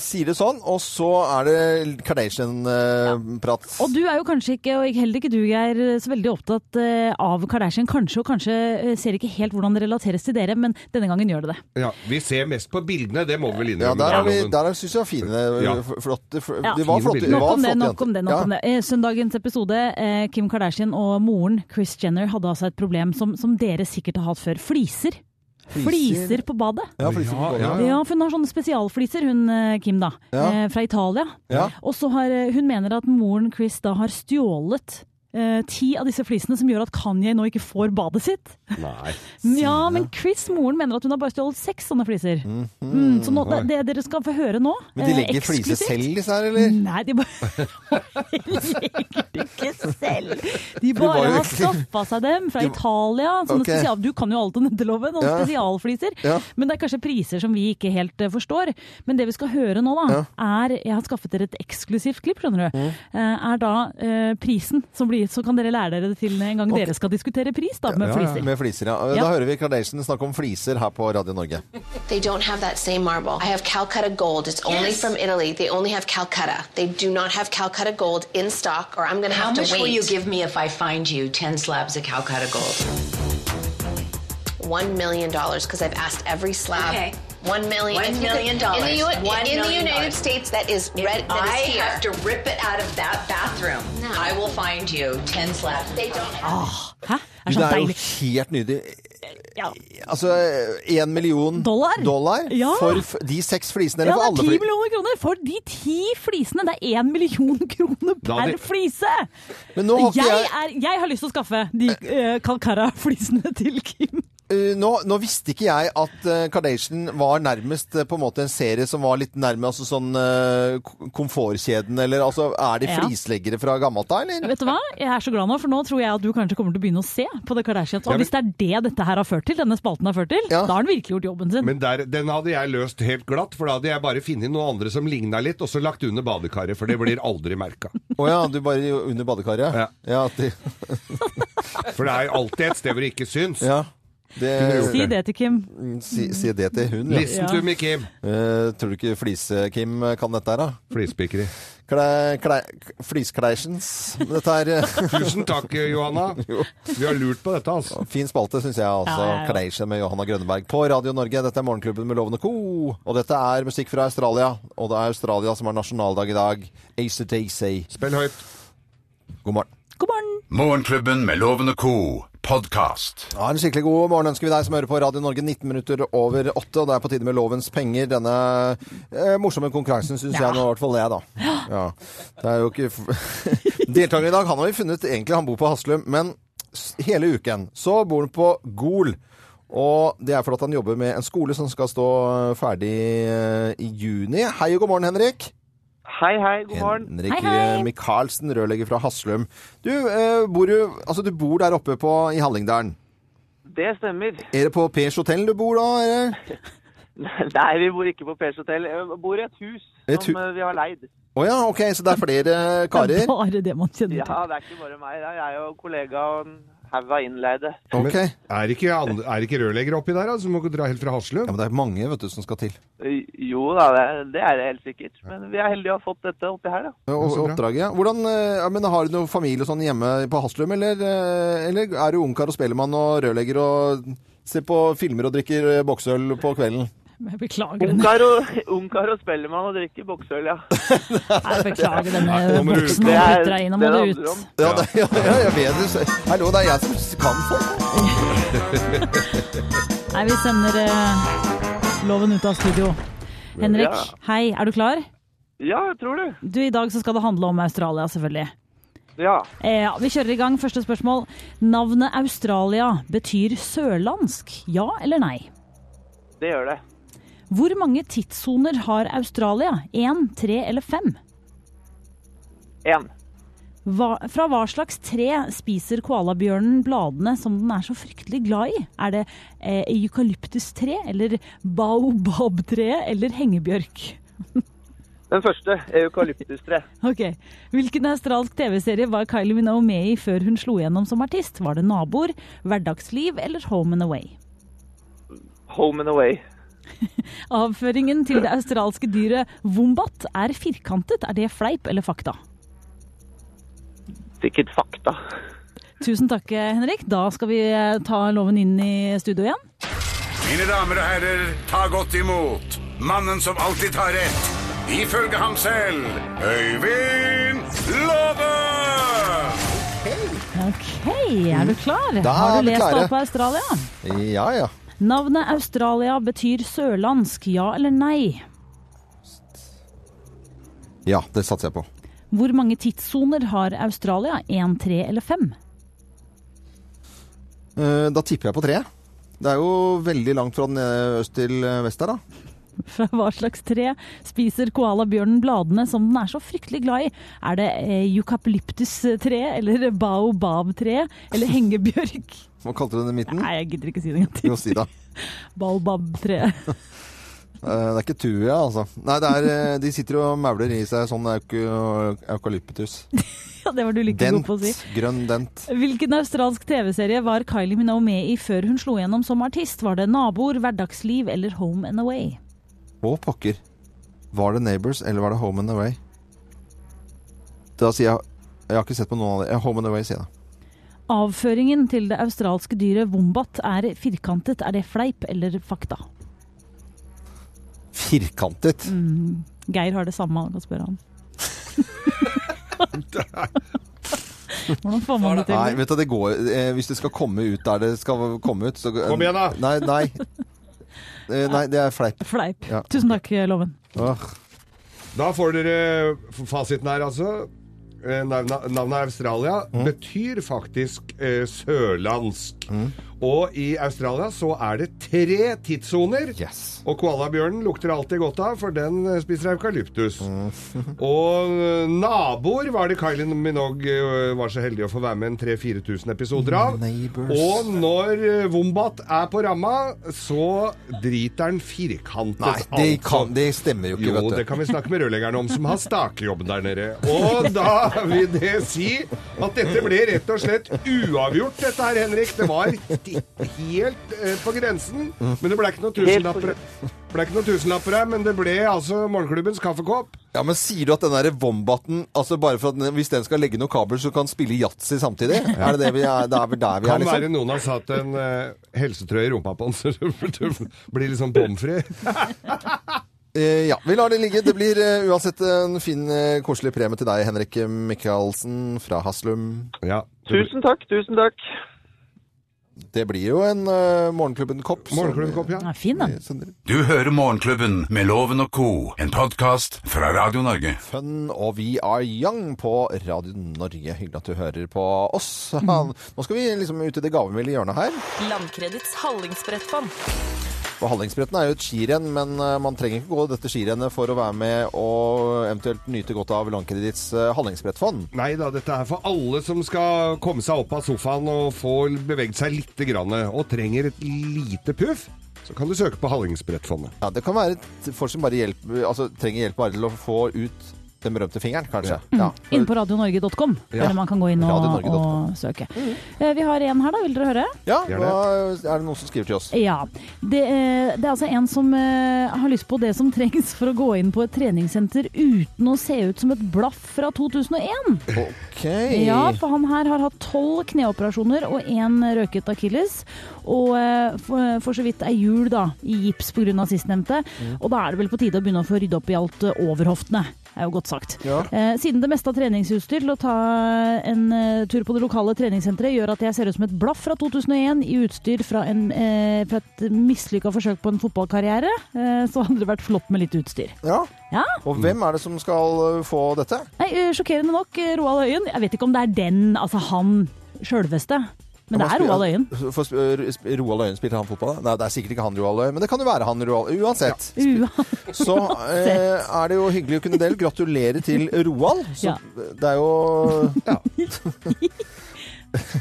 [SPEAKER 3] sier det sånn, og så er det eh, Kardashian-prat.
[SPEAKER 4] Og du er jo kanskje ikke, og heller ikke du Geir, så veldig opptatt eh, av Kardashian. Kanskje og kanskje eh, ser ikke helt hvordan det relateres til dere, men denne gangen gjør det det.
[SPEAKER 5] Ja, vi ser mest på bildene, det må vi vel
[SPEAKER 3] ja,
[SPEAKER 5] innrømme.
[SPEAKER 3] der, er vi,
[SPEAKER 5] Loven.
[SPEAKER 3] der er, synes jeg er fine,
[SPEAKER 5] Ja.
[SPEAKER 3] f- flotte, f-
[SPEAKER 4] Ja.
[SPEAKER 3] Det var
[SPEAKER 5] Fine
[SPEAKER 3] flotte,
[SPEAKER 5] bilder.
[SPEAKER 3] det
[SPEAKER 4] Nok
[SPEAKER 3] var
[SPEAKER 4] om det,
[SPEAKER 3] flotte
[SPEAKER 4] nok om det. nok
[SPEAKER 3] jenter.
[SPEAKER 4] om det. Eh, Søndagens episode, eh, Kim Kardashian og moren Chris Jenner hadde altså et problem som, som dere sikkert har hatt før. Fliser. Fliser på badet.
[SPEAKER 3] Ja, fliser på
[SPEAKER 5] Ja,
[SPEAKER 3] gulvet.
[SPEAKER 4] Ja, for hun har sånne spesialfliser, hun eh, Kim, da.
[SPEAKER 3] Ja.
[SPEAKER 4] Eh, fra Italia.
[SPEAKER 3] Ja.
[SPEAKER 4] Og så har eh, hun mener at moren Chris da har stjålet eh, ti av disse flisene, som gjør at Kanye nå ikke får badet sitt.
[SPEAKER 5] Nei.
[SPEAKER 4] <laughs> Ja, men Chris, moren, mener at hun har bare stjålet seks sånne fliser. Mm, så nå, det, det dere skal få høre nå
[SPEAKER 3] Mhm. Men de
[SPEAKER 4] eh,
[SPEAKER 3] legger fliser
[SPEAKER 4] eksklusivt-
[SPEAKER 3] selv, disse her, eller?
[SPEAKER 4] Nei, de bare <laughs> legger det ikke selv. De
[SPEAKER 3] var
[SPEAKER 4] bare
[SPEAKER 3] jo
[SPEAKER 4] har
[SPEAKER 3] ikke-
[SPEAKER 4] skaffa seg dem fra Italia. Sånne
[SPEAKER 3] Ok.
[SPEAKER 4] spesial... Du kan jo alt om jenteloven, og
[SPEAKER 3] Ja.
[SPEAKER 4] spesialfliser.
[SPEAKER 3] Ja.
[SPEAKER 4] Men det er kanskje priser som vi ikke helt eh, forstår. Men det vi skal høre nå, da, er Jeg har skaffet dere et eksklusivt klipp, skjønner du. Eh, Er da eh, prisen som blir Oi, så kan dere lære dere det til en gang dere skal diskutere pris da, med
[SPEAKER 5] Ja, ja.
[SPEAKER 4] fliser.
[SPEAKER 3] Med fliser, ja. Da
[SPEAKER 4] Ja.
[SPEAKER 3] hører vi Kardashian snakke om fliser her på Radio Norge.
[SPEAKER 8] They don't have that same marble. I have Calcutta Gold. It's only from Italy. They only have Calcutta. They do not have Calcutta Gold in stock, or I'm going to have to wait. How much will you give me if I find you 10 slabs of Calcutta Gold? One million dollars, because I've asked every slab.
[SPEAKER 10] Okay.
[SPEAKER 8] One million.
[SPEAKER 10] One
[SPEAKER 8] if you could-
[SPEAKER 10] million dollars.
[SPEAKER 8] In the, U- in
[SPEAKER 10] One
[SPEAKER 8] the
[SPEAKER 10] million
[SPEAKER 8] United
[SPEAKER 10] dollars.
[SPEAKER 8] States, that is
[SPEAKER 10] If
[SPEAKER 8] red. That
[SPEAKER 10] I
[SPEAKER 8] is here.
[SPEAKER 10] have to rip it out of that bathroom.
[SPEAKER 8] No.
[SPEAKER 10] I will find you 10 slabs.
[SPEAKER 8] They don't have.
[SPEAKER 4] Hæ? Det er
[SPEAKER 3] Det
[SPEAKER 4] så
[SPEAKER 3] er jo
[SPEAKER 4] deilig.
[SPEAKER 3] helt nydelig.
[SPEAKER 4] Ja.
[SPEAKER 3] Altså, én million
[SPEAKER 4] Dollar? Ja.
[SPEAKER 3] for f de seks flisene. Eller
[SPEAKER 4] Ja,
[SPEAKER 3] for
[SPEAKER 4] det er
[SPEAKER 3] alle
[SPEAKER 4] ti
[SPEAKER 3] fli-
[SPEAKER 4] millioner kroner for de ti flisene! Det er én million <laughs> kroner
[SPEAKER 5] Da
[SPEAKER 4] per
[SPEAKER 5] hadde-
[SPEAKER 4] flise!
[SPEAKER 3] Men nå har ikke
[SPEAKER 4] Jeg,
[SPEAKER 3] jeg,
[SPEAKER 4] er, jeg har lyst til å skaffe de uh, Calcara-flisene <laughs> til Kim.
[SPEAKER 3] Uh, nå, nå visste ikke jeg at eh, Kardashian var nærmest eh, på en måte en serie som var litt nærme altså sånn eh, k- komfortkjeden, eller altså Er de
[SPEAKER 4] Ja.
[SPEAKER 3] flisleggere fra gammelt av, eller?
[SPEAKER 4] Vet du hva? Jeg er så glad nå, for nå tror jeg at du kanskje kommer til å begynne å se på det Kardashians. Og
[SPEAKER 5] Ja, men-
[SPEAKER 4] hvis det er det dette her har ført til, denne spalten har ført til,
[SPEAKER 3] Ja.
[SPEAKER 4] da har den virkelig gjort jobben sin.
[SPEAKER 5] Men der, den hadde jeg løst helt glatt, for da hadde jeg bare funnet noen andre som ligna litt, og så lagt under badekaret, for det blir aldri merka.
[SPEAKER 3] Å ja, du bare jo under badekaret?
[SPEAKER 5] Ja.
[SPEAKER 3] ja at de-
[SPEAKER 5] For det er jo alltid et sted hvor det ikke syns.
[SPEAKER 3] ja.
[SPEAKER 5] Kunne
[SPEAKER 3] Det,
[SPEAKER 4] Si det til Kim.
[SPEAKER 3] si, si det til hun. Ja.
[SPEAKER 5] Listen to me, Kim.
[SPEAKER 3] Eh, tror du ikke Flise-Kim kan dette her, da?
[SPEAKER 5] Flispikeri.
[SPEAKER 3] Kle, kle, Fliskleisjens. Dette er eh, <laughs>
[SPEAKER 5] Tusen takk, Johanna. Vi har lurt på dette, altså.
[SPEAKER 3] fin spalte, syns jeg. altså.
[SPEAKER 4] Ja, ja, ja.
[SPEAKER 3] Kleisjen med Johanna Grønneberg på Radio Norge. Dette er Morgenklubben med Lovende Co. Og dette er musikk fra Australia. Og det er Australia som har nasjonaldag i dag. Ace of Daisy.
[SPEAKER 5] Spill høyt.
[SPEAKER 3] God morgen.
[SPEAKER 4] God morgen!
[SPEAKER 2] Morgenklubben med Lovende Co. Podkast.
[SPEAKER 3] Ja, en skikkelig god morgen ønsker vi deg som hører på Radio Norge 19 minutter over 8. Og det er på tide med Lovens penger. Denne eh, morsomme konkurransen syns jeg nå, i hvert fall jeg, da. Ja. Det er jo ikke <laughs> Deltaker i dag, han har vi funnet egentlig, han bor på Haslum, men s- hele uken så bor han på Gol. Og det er fordi at han jobber med en skole som skal stå eh, ferdig eh, i juni. Hei og god morgen, Henrik.
[SPEAKER 11] Hei, hei, god morgen.
[SPEAKER 3] Henrik
[SPEAKER 4] Hei, hei.
[SPEAKER 3] eh, Michaelsen, rørlegger fra Haslum. Du, eh, bor, jo, altså, du bor der oppe på, i Hallingdalen.
[SPEAKER 11] Det stemmer. <laughs>
[SPEAKER 3] Er det på Pers hotell du bor da? Eller?
[SPEAKER 11] Nei, vi bor ikke på Pers hotell. Jeg bor i et hus
[SPEAKER 3] Et
[SPEAKER 11] som
[SPEAKER 3] hu-
[SPEAKER 11] eh, vi har leid.
[SPEAKER 3] Å ja, ok, så det er
[SPEAKER 4] <laughs>
[SPEAKER 3] flere
[SPEAKER 4] Det
[SPEAKER 3] karer?
[SPEAKER 4] er bare det man kjenner
[SPEAKER 11] Ja,
[SPEAKER 4] til.
[SPEAKER 11] det er ikke bare meg. da. Jeg og kollega og en haug av innleide.
[SPEAKER 3] Ok. Ja,
[SPEAKER 5] Er ikke, and- er ikke rørlegger oppi der, altså? Må ikke dra helt fra Haslum?
[SPEAKER 3] men det er mange vet du, som skal til.
[SPEAKER 11] Jo da, det, det er det helt sikkert. Men vi er heldige å ha fått dette oppi her, da.
[SPEAKER 3] Og
[SPEAKER 5] så bra.
[SPEAKER 3] oppdraget. ja. Hvordan, eh, ja, men Har du noen familie og sånn hjemme på Haslum, eller, eh, eller er du ungkar og spellemann og rørlegger og ser på filmer og drikker eh, boksøl på kvelden?
[SPEAKER 4] Men Jeg beklager denne,
[SPEAKER 11] Ungkar og, <laughs> ungkar og spellemann og drikker boksøl, ja.
[SPEAKER 4] jeg beklager denne
[SPEAKER 5] Nå må du ut.
[SPEAKER 4] boksen
[SPEAKER 11] Det
[SPEAKER 4] og
[SPEAKER 11] er
[SPEAKER 4] putter deg inn. Nå
[SPEAKER 11] det det
[SPEAKER 4] må du
[SPEAKER 11] handler
[SPEAKER 4] ut.
[SPEAKER 11] om.
[SPEAKER 3] Ja, <laughs> det, ja, ja jeg vet det. Hallo, det er jeg som kan folk.
[SPEAKER 4] Nei, vi sender eh, loven ut av studio. Henrik,
[SPEAKER 11] Ja.
[SPEAKER 4] hei, er du klar?
[SPEAKER 11] Ja, jeg tror det.
[SPEAKER 4] Du, I dag så skal det handle om Australia, selvfølgelig.
[SPEAKER 11] Ja.
[SPEAKER 4] Eh, ja, vi kjører i gang. Første spørsmål. Navnet Australia betyr sørlandsk. Ja eller nei?
[SPEAKER 11] Det gjør det.
[SPEAKER 4] Hvor mange tidssoner har Australia? Én, tre eller fem?
[SPEAKER 11] Én.
[SPEAKER 4] Hva, fra hva slags tre spiser koalabjørnen bladene som den er så fryktelig glad i? Er det eh, eukalyptustre eller baobabtre eller hengebjørk?
[SPEAKER 11] <laughs> Den første, eukalyptustre.
[SPEAKER 4] Ok. Hvilken australsk TV-serie var Kylie Minogue med i før hun slo gjennom som artist? Var det Naboer, Hverdagsliv eller Home and Away?
[SPEAKER 11] Home and away.
[SPEAKER 4] <laughs> Avføringen til det australske dyret wombat er firkantet. Er det fleip eller fakta?
[SPEAKER 11] Sikkert fakta.
[SPEAKER 4] Tusen takk, Henrik. Da skal vi eh, ta loven inn i studio igjen.
[SPEAKER 2] Mine damer og herrer, ta godt imot mannen som alltid tar rett. Ifølge ham selv Øyvind Låve!
[SPEAKER 4] Ok, er du klar?
[SPEAKER 3] Mm. Da er
[SPEAKER 4] Har du
[SPEAKER 3] vi
[SPEAKER 4] lest
[SPEAKER 3] klare.
[SPEAKER 4] opp på Australia?
[SPEAKER 3] Ja, ja.
[SPEAKER 4] Navnet Australia betyr sørlandsk, ja eller nei?
[SPEAKER 3] Ja, det satser jeg på.
[SPEAKER 4] Hvor mange tidssoner har Australia? Én, tre eller fem? <laughs>
[SPEAKER 3] Eh, Da tipper jeg på tre. Det er jo veldig langt fra den eh, øst til eh, vest der, da.
[SPEAKER 4] Fra hva slags tre spiser koalabjørnen bladene som den er så fryktelig glad i? Er det eh, eukalyptus-tre eller baobab-tre eller hengebjørk?
[SPEAKER 3] <laughs> Hva kalte du den i midten?
[SPEAKER 4] Nei, jeg gidder ikke si det en gang
[SPEAKER 3] Jo,
[SPEAKER 4] til.
[SPEAKER 3] si det.
[SPEAKER 4] Baobab-tre. <laughs>
[SPEAKER 3] Eh, Det er ikke tuja, altså. Nei, det er, eh, de sitter og mauler i seg sånn euk eukalyptus.
[SPEAKER 4] Ja, det var du like god
[SPEAKER 3] Dent.
[SPEAKER 4] på å si.
[SPEAKER 3] Grønn dent.
[SPEAKER 4] Hvilken australsk TV-serie var Kylie Minogue med i før hun slo gjennom som artist? Var det Naboer, Hverdagsliv eller Home and Away?
[SPEAKER 3] Å, pokker. Var det Neighbors, eller var det Home and Away? Da sier jeg Jeg har ikke sett på noen av det. Eh, Home and Away, sier jeg da.
[SPEAKER 4] Avføringen til det australske dyret wombat er firkantet. Er det fleip eller fakta?
[SPEAKER 3] Firkantet.
[SPEAKER 4] Mm. Geir har det samme, han kan
[SPEAKER 3] <laughs>
[SPEAKER 4] spørre han. Hvordan får man det til?
[SPEAKER 3] Nei, vet du, det går eh, Hvis det skal komme ut der det skal komme ut, så
[SPEAKER 5] Kom igjen, da!
[SPEAKER 3] Nei,
[SPEAKER 5] <laughs>
[SPEAKER 3] nei. Eh, nei, det er fleip.
[SPEAKER 4] Fleip.
[SPEAKER 3] Ja.
[SPEAKER 4] Tusen takk, Loven.
[SPEAKER 3] Åh.
[SPEAKER 5] Da får dere f- fasiten her, altså. Eh, Navna- Navnet Australia
[SPEAKER 3] Mm.
[SPEAKER 5] betyr faktisk eh, sørlandsk. Mm. Og i Australia så er det tre tidssoner.
[SPEAKER 3] Yes.
[SPEAKER 5] Og koalabjørnen lukter alltid godt av, for den eh, spiser eukalyptus.
[SPEAKER 3] Mm. <laughs>
[SPEAKER 5] og eh, naboer var det Kylie Minogue eh, var så heldig å få være med en 3000-4000 episoder
[SPEAKER 3] Mm,
[SPEAKER 5] av.
[SPEAKER 3] Neighbours.
[SPEAKER 5] Og når eh, Wombat er på ramma, så driter den firkantet.
[SPEAKER 3] Nei, det,
[SPEAKER 5] altså.
[SPEAKER 3] kan, det stemmer jo ikke,
[SPEAKER 5] Jo, det
[SPEAKER 3] vet du.
[SPEAKER 5] kan vi snakke med rørleggeren om, som har stakejobben der nede. Og da vil det si at dette ble rett og slett uavgjort, dette her, Henrik. Det var helt eh, på grensen. Men det ble ikke noen tusenlapper, ble ikke noen tusenlapper her. Men det ble altså morgenklubbens kaffekopp.
[SPEAKER 3] Ja, men Sier du at den derre Wombaten altså bare for at den, Hvis den skal legge noen kabel, så kan spille yatzy samtidig? Er det det vi er? Det er vel der vi er,
[SPEAKER 5] Kan
[SPEAKER 3] liksom?
[SPEAKER 5] være noen har satt en eh, helsetrøye i rumpa på den, så du blir litt sånn bomfri.
[SPEAKER 3] Eh, ja, vi lar det ligge. Det blir eh, uansett en fin, eh, koselig premie til deg, Henrik Michaelsen fra Haslum.
[SPEAKER 5] Ja.
[SPEAKER 11] Tusen takk, tusen takk.
[SPEAKER 3] Det blir jo en uh, Morgenklubben-kopp. som-
[SPEAKER 5] Morgenklubbkopp, ja.
[SPEAKER 4] Den er fin, den.
[SPEAKER 3] Sender
[SPEAKER 2] Du hører Morgenklubben med Loven og Co., en podkast fra Radio Norge.
[SPEAKER 3] Fun og We Are Young på Radio Norge. Hyggelig at du hører på oss.
[SPEAKER 5] Mm.
[SPEAKER 3] Han, nå skal vi liksom ut i det gavmilde hjørnet her.
[SPEAKER 12] Landkredits hallingsbrettfond.
[SPEAKER 3] Og Hallingsbretten er jo et skirenn, men eh, man trenger ikke gå dette skirennet for å være med og eventuelt nyte godt av Landkreditts eh, Hallingsbrettfond.
[SPEAKER 5] Nei da, dette er for alle som skal komme seg opp av sofaen og få beveget seg litt grann, og trenger et lite puff, så kan du søke på Hallingsbrettfondet.
[SPEAKER 3] Ja, det kan være et- folk som bare hjelp, altså, trenger hjelp bare til å få ut den berømte fingeren, kanskje. Ja.
[SPEAKER 4] Mm. Inn på radionorge.com,
[SPEAKER 5] Ja.
[SPEAKER 4] der man kan gå inn og,
[SPEAKER 3] radionorge.com.
[SPEAKER 4] og søke. Eh, Vi har en her, da. Vil dere høre?
[SPEAKER 3] Ja,
[SPEAKER 5] Gjerne.
[SPEAKER 3] da er det noen som skriver til oss.
[SPEAKER 4] Ja. Det, eh, det er altså en som eh, har lyst på det som trengs for å gå inn på et treningssenter uten å se ut som et blaff fra 2001.
[SPEAKER 3] Ok.
[SPEAKER 4] Ja, for han her har hatt tolv kneoperasjoner og én røket akilles. Og eh, for, for så vidt ei hjul da, i gips pga. sistnevnte. Og da er det vel på tide å begynne å få rydde opp i alt eh, overhoftene. er jo godt sagt.
[SPEAKER 3] Ja.
[SPEAKER 4] Eh, siden det meste av treningsutstyr til å ta en eh, tur på det lokale treningssenteret gjør at jeg ser ut som et blaff fra 2001 i utstyr fra, en, eh, fra et mislykka forsøk på en fotballkarriere, eh, så hadde det vært flott med litt utstyr.
[SPEAKER 3] Ja.
[SPEAKER 4] Ja.
[SPEAKER 3] Og hvem er det som skal uh, få dette?
[SPEAKER 4] Nei, ø, sjokkerende nok, ø, Roald Øyen. Jeg vet ikke om det er den, altså han sjølveste. Men det er Roald Øyen.
[SPEAKER 3] For sp- eh, sp- Roald Øyen spilte han fotball? da? Nei, det er sikkert ikke han Roald Øyen, men det kan jo være han Roald Uansett.
[SPEAKER 4] Ua. <laughs>
[SPEAKER 3] Så eh, er det jo hyggelig å kunne dele. Gratulerer til Roald. Så,
[SPEAKER 4] Ja.
[SPEAKER 3] Det er jo ja. <laughs>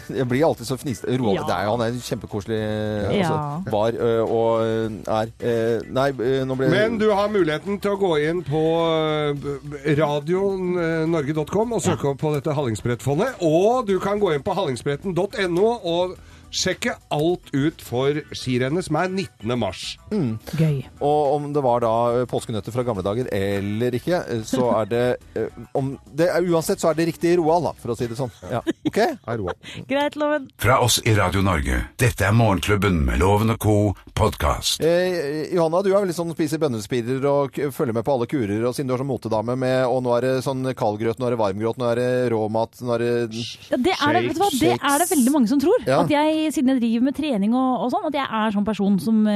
[SPEAKER 3] Jeg blir alltid så fniste. Roald
[SPEAKER 4] Ja.
[SPEAKER 3] det er jo, han er en kjempekoselig eh,
[SPEAKER 4] Ja.
[SPEAKER 3] altså, var eh, og er eh, Nei, eh, nå ble
[SPEAKER 5] Men du har muligheten til å gå inn på eh, radionorge.com og søke opp på dette Hallingsbrettfondet. Og du kan gå inn på hallingsbretten.no og sjekke alt ut for skirennet, som er 19. mars.
[SPEAKER 4] Gøy.
[SPEAKER 3] Og om det var da eh, påskenøtter fra gamle dager eller ikke, eh, så er det, eh, om det er- Uansett så er det riktig Roald, da, for å si det sånn. Ja. OK?
[SPEAKER 5] Hei, Roald.
[SPEAKER 4] <laughs> Greit, Loven.
[SPEAKER 2] Fra oss i Radio Norge, dette er Morgenklubben med Loven og Co. podkast.
[SPEAKER 3] Eh, Johanna, du er vel litt sånn spiser bønnespirer og k- følger med på alle kurer, og siden du er sånn motedame med Og nå er det sånn kaldgrøt, nå er det varmgrøt, nå er det råmat, nå er det
[SPEAKER 4] Ja, det, er det, vet du hva? det
[SPEAKER 3] shakes.
[SPEAKER 4] er det veldig mange som tror.
[SPEAKER 3] Ja.
[SPEAKER 4] At jeg, siden jeg driver med trening og, og sånn, at jeg er sånn person som, ø,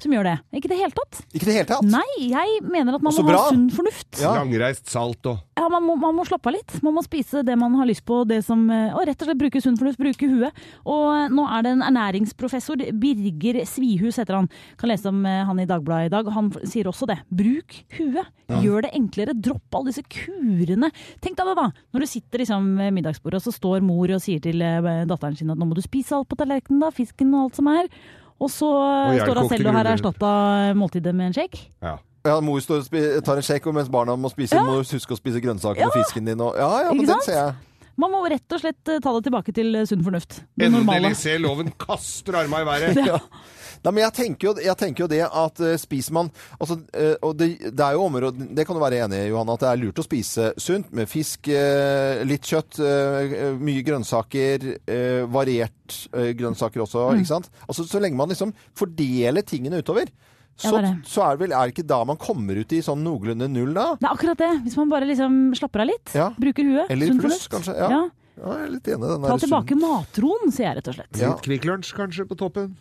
[SPEAKER 4] som gjør det. Ikke i det hele tatt.
[SPEAKER 3] Ikke i det hele tatt?
[SPEAKER 4] Nei, jeg mener at man
[SPEAKER 3] Og så
[SPEAKER 4] må
[SPEAKER 3] bra.
[SPEAKER 4] ha sunn fornuft.
[SPEAKER 3] Ja.
[SPEAKER 5] Langreist salt og
[SPEAKER 4] Ja, man, må, man må slappe av litt. Man må spise det man har lyst på, det som, eh, og rett og slett bruke sunn fornuft, bruke huet. Og eh, nå er det en ernæringsprofessor, Birger Svihus heter han. Kan lese om eh, han i Dagbladet i dag. Han f- sier også det. Bruk huet. Gjør det enklere. Dropp alle disse kurene. Tenk deg det, da. Når du sitter liksom, ved middagsbordet, og så står mor og sier til eh, datteren sin at nå må du spise alt på tallerkenen, da. Fisken og alt som er. Og så eh,
[SPEAKER 5] Og
[SPEAKER 4] står hun
[SPEAKER 5] jernkokt
[SPEAKER 4] selv og har
[SPEAKER 5] gruner.
[SPEAKER 4] erstatta måltidet med en shake.
[SPEAKER 5] ja.
[SPEAKER 3] Ja, mor står og spi- tar en sjekk, og mens barna må spise, må du huske å spise grønnsaker og fisken din og Ja, ja, men
[SPEAKER 4] Ikke
[SPEAKER 3] den
[SPEAKER 4] sant?
[SPEAKER 3] ser jeg.
[SPEAKER 4] Man må rett og slett eh, ta det tilbake til eh, sunn fornuft. Det normale.
[SPEAKER 5] Endelig se loven kaster arma i været.
[SPEAKER 3] Ja. Nei, men jeg tenker, jo, jeg tenker jo det at eh, spiser man altså, eh, Og det, det er jo områder Det kan du være enig i, Johanne, at det er lurt å spise sunt med fisk, eh, litt kjøtt, eh, mye grønnsaker, eh, variert eh, grønnsaker også,
[SPEAKER 4] Mm.
[SPEAKER 3] ikke sant? Altså, så lenge man liksom fordeler tingene utover,
[SPEAKER 4] Ja,
[SPEAKER 3] så,
[SPEAKER 4] det er det.
[SPEAKER 3] så er det vel er det ikke da man kommer ut i sånn noenlunde null, da?
[SPEAKER 4] Det er akkurat det. Hvis man bare liksom slapper av litt,
[SPEAKER 3] Ja.
[SPEAKER 4] bruker huet,
[SPEAKER 3] Eller
[SPEAKER 4] sunn
[SPEAKER 3] pluss,
[SPEAKER 4] fornuft.
[SPEAKER 3] kanskje. Ja.
[SPEAKER 4] Ja.
[SPEAKER 3] Ja, jeg er litt enig i den der
[SPEAKER 4] Ta
[SPEAKER 3] sunn-
[SPEAKER 4] tilbake matroen, sier jeg rett og slett. <laughs>
[SPEAKER 3] Ja.
[SPEAKER 5] Litt Kvikk Lunsj kanskje på toppen.